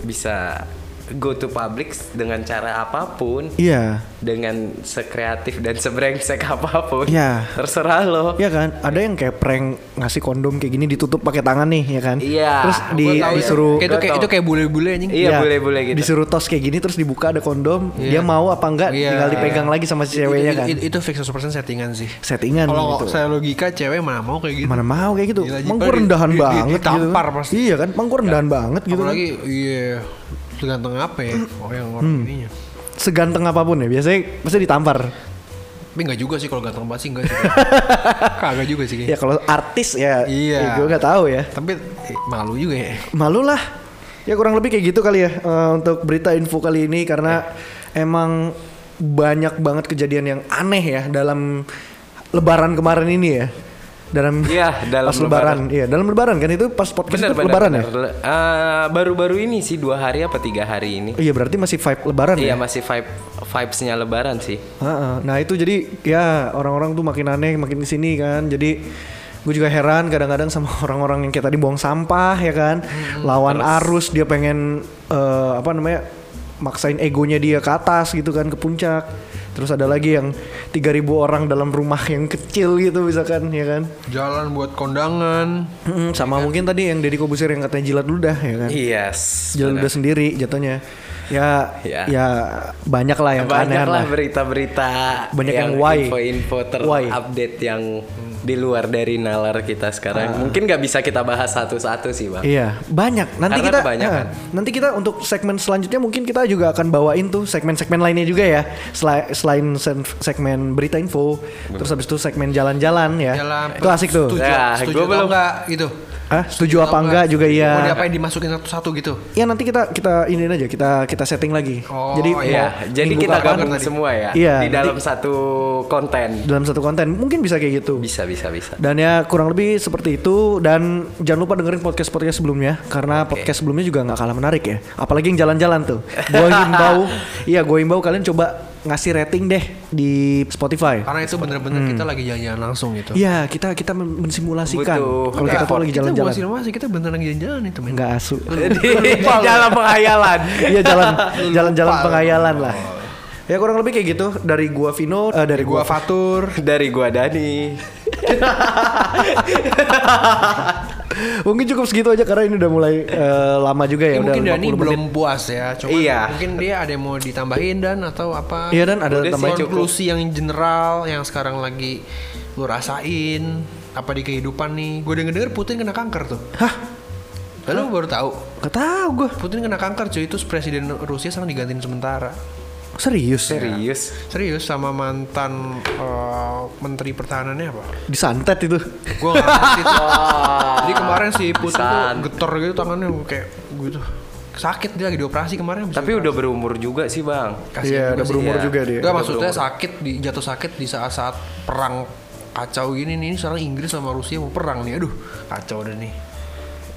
bisa go to public dengan cara apapun. iya dengan sekreatif dan sebrengsek apapun. Iya. Terserah lo. Iya kan, ada yang kayak prank ngasih kondom kayak gini ditutup pakai tangan nih, ya kan? Iya, Terus gua di, tahu itu. ya. disuruh Kayak itu Gua kayak tahu. itu kayak bule-bule anjing. Iya, boleh-boleh gitu. Disuruh tos kayak gini terus dibuka ada kondom, dia mau apa enggak Iya. tinggal dipegang lagi sama si ceweknya Itu- kan. Itu, itu fix 100% settingan sih. Settingan Kalau gitu. saya logika cewek mana mau kayak gitu. Mana mau kayak gitu. Gila, Jipar Emang gua di- rendahan di- di- banget ditampar gitu. pasti. Iya kan? Emang gua rendahan banget gitu. kan. Apalagi iya tergantung apa ya orang yang orang Hmm. ininya. Seganteng apapun ya, biasanya pasti ditampar. Tapi enggak juga sih kalau ganteng banget sih enggak sih. Kagak juga sih. kayaknya. Ya kalau artis ya, Iya. ya gue nggak tahu ya. Tapi eh, malu juga ya. malu lah ya kurang lebih kayak gitu kali ya eh, untuk berita info kali ini karena Ya. emang banyak banget kejadian yang aneh ya dalam lebaran kemarin ini ya dalam Iya, dalam pas lebaran. iya dalam lebaran kan itu pas podcast Bener, itu bener, lebaran bener. ya Le- eh, baru-baru ini sih dua hari apa tiga hari ini. iya berarti masih vibe lebaran Iya ya masih vibe vibesnya Lebaran sih. Heeh. nah itu jadi ya orang-orang tuh makin aneh makin kesini kan jadi gue juga heran kadang-kadang sama orang-orang yang kayak tadi buang sampah ya kan lawan arus dia pengen eh, apa namanya maksain egonya dia ke atas gitu kan ke puncak terus ada lagi yang 3000 orang dalam rumah yang kecil gitu misalkan ya kan Iya. Jalan buat kondangan. Mm-mm, Hmm, sama mungkin tadi yang Deddy Kobusir yang katanya jilat ludah ya kan Yes. jilat ludah sendiri jatuhnya ya Ya. ya banyak lah yang Banyak keanehan lah lah berita-berita Banyak yang why. info-info Why. terupdate yang di luar dari nalar kita sekarang. Mungkin nggak bisa kita bahas satu-satu sih Ah. bang. Iya, banyak. Nanti Karena kita nah, kebanyakan. nanti kita untuk segmen selanjutnya mungkin kita juga akan bawain tuh segmen-segmen lainnya juga ya. Sela- Selain sen- segmen berita info, terus habis itu segmen jalan-jalan ya. Jalan. itu asik tuh. Setuju, Nah, setuju gua atau belum- enggak gitu. Hah, setuju apa Atau enggak juga iya. Mau diapain dimasukin satu-satu gitu. Ya nanti kita kita ini aja kita kita setting lagi. Oh, Jadi iya. mau Ya, jadi minggu kita kapan, gabung semua ya Iya, di dalam satu konten. dalam satu konten mungkin bisa kayak gitu. Bisa bisa bisa. Dan ya kurang lebih seperti itu dan jangan lupa dengerin podcast-podcast sebelumnya karena podcast sebelumnya juga nggak kalah menarik ya. Apalagi yang jalan-jalan tuh. Gue himbau, iya gue himbau kalian coba ngasih rating deh di Spotify. Karena itu bener-bener kita lagi jalan-jalan langsung gitu. Hmm. Iya kita kita men- mensimulasikan Butuh kalau kita tuh lagi jalan-jalan. Kita masih kita beneran jalan-jalan itu men. Nggak asu. di dalam penghayalan. Iya jalan jalan-jalan pengayalan lah. Ya kurang lebih kayak gitu dari gua Vino, eh, dari gua Gua Fatur. Dari gua Dani. Iya. Mungkin cukup segitu aja karena ini udah mulai eh, lama juga ya. Ya, udah mungkin Dani 40 menit. belum puas ya. Cuma Iya. mungkin dia ada yang mau ditambahin dan atau apa? Iya dan ada Udah sih, tambahan cukup. konklusi yang general yang sekarang lagi lu rasain apa di kehidupan nih? Gue denger denger Putin kena kanker tuh. Hah? Lalu baru tahu Gak tau gue Putin kena kanker cuy itu presiden Rusia sekarang digantiin sementara. Serius? Serius. Serius sama mantan eh, menteri pertahanannya apa? Disantet itu Gue gak ngerti tuh. Jadi kemarin si Putin Pisan. tuh getar gitu tangannya kayak gitu. Sakit dia lagi dioperasi kemarin. habis Tapi udah berumur juga sih bang. Iya udah berumur iya. juga dia Enggak maksudnya sakit di jatuh sakit di saat-saat perang kacau gini nih sekarang Inggris sama Rusia mau perang nih aduh kacau udah nih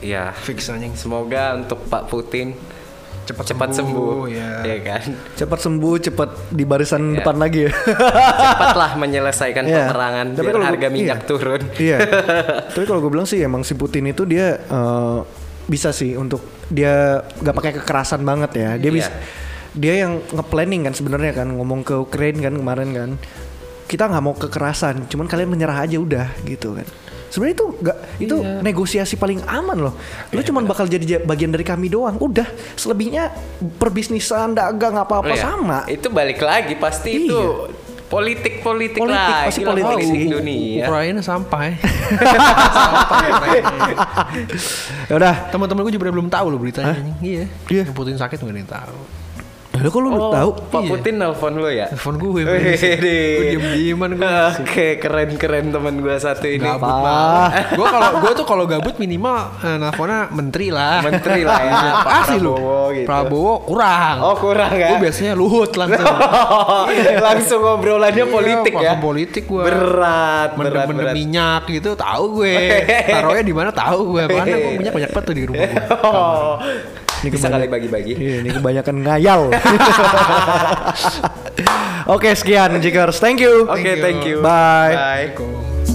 Iya. fix anjing Semoga untuk Pak Putin Cepat cepat sembuh, sembuh, ya. iya. ya kan. Cepat sembuh, cepat di Iya. barisan depan lagi ya. Cepatlah menyelesaikan Iya. Kan peperangan Tapi biar kalau gua- harga minyak iya. turun. iya. Tapi kalau gue bilang sih emang si Putin itu dia eh, bisa sih untuk dia nggak pakai kekerasan banget ya. Dia Iya. bisa dia yang nge-planning kan sebenarnya kan ngomong ke Ukraine kan kemarin kan. Kita nggak mau kekerasan, cuman kalian menyerah aja udah gitu kan. Sebenarnya itu nggak itu Iya. negosiasi paling aman loh. Lu cuman bakal jadi ja- bagian dari kami doang. Udah, selebihnya perbisnisan, dagang apa-apa Iya. sama. Itu balik lagi Iya. pasti itu politik-politik Politik, lah. pasti Gila, politik. Iya. politik Wow. dunia. Ukraina sampah ya. Ya udah. Teman-teman gue juga belum tahu loh beritanya. anjing. Iya. Iya. Yang Putin sakit nggak ada yang tahu. Lalu kok lu Oh, tahu? Pak Iya. Putin nelpon lo ya? Telepon gue. Wih, Gue diem-dieman gue. Oke, keren-keren teman gue satu ini. Gabut banget. Gue kalau gue tuh kalau gabut minimal eh, nelfonnya menteri lah. Menteri lah ya, Pak Asli lu. Prabowo gitu. Prabowo kurang. Oh, kurang ya? Gue biasanya luhut langsung. Langsung ngobrolannya Iya, politik ya. langsung politik gua. Berat, berat, mendem berat. minyak gitu tahu gue taruhnya di mana tahu gue mana gue minyak banyak banget tuh di rumah gue Oh, bisa kali bagi-bagi. Iya, ini kebanyakan ngayal. Oke, sekian Jikers. Thank you. Oke, thank Bye. you. Bye. Assalamualaikum.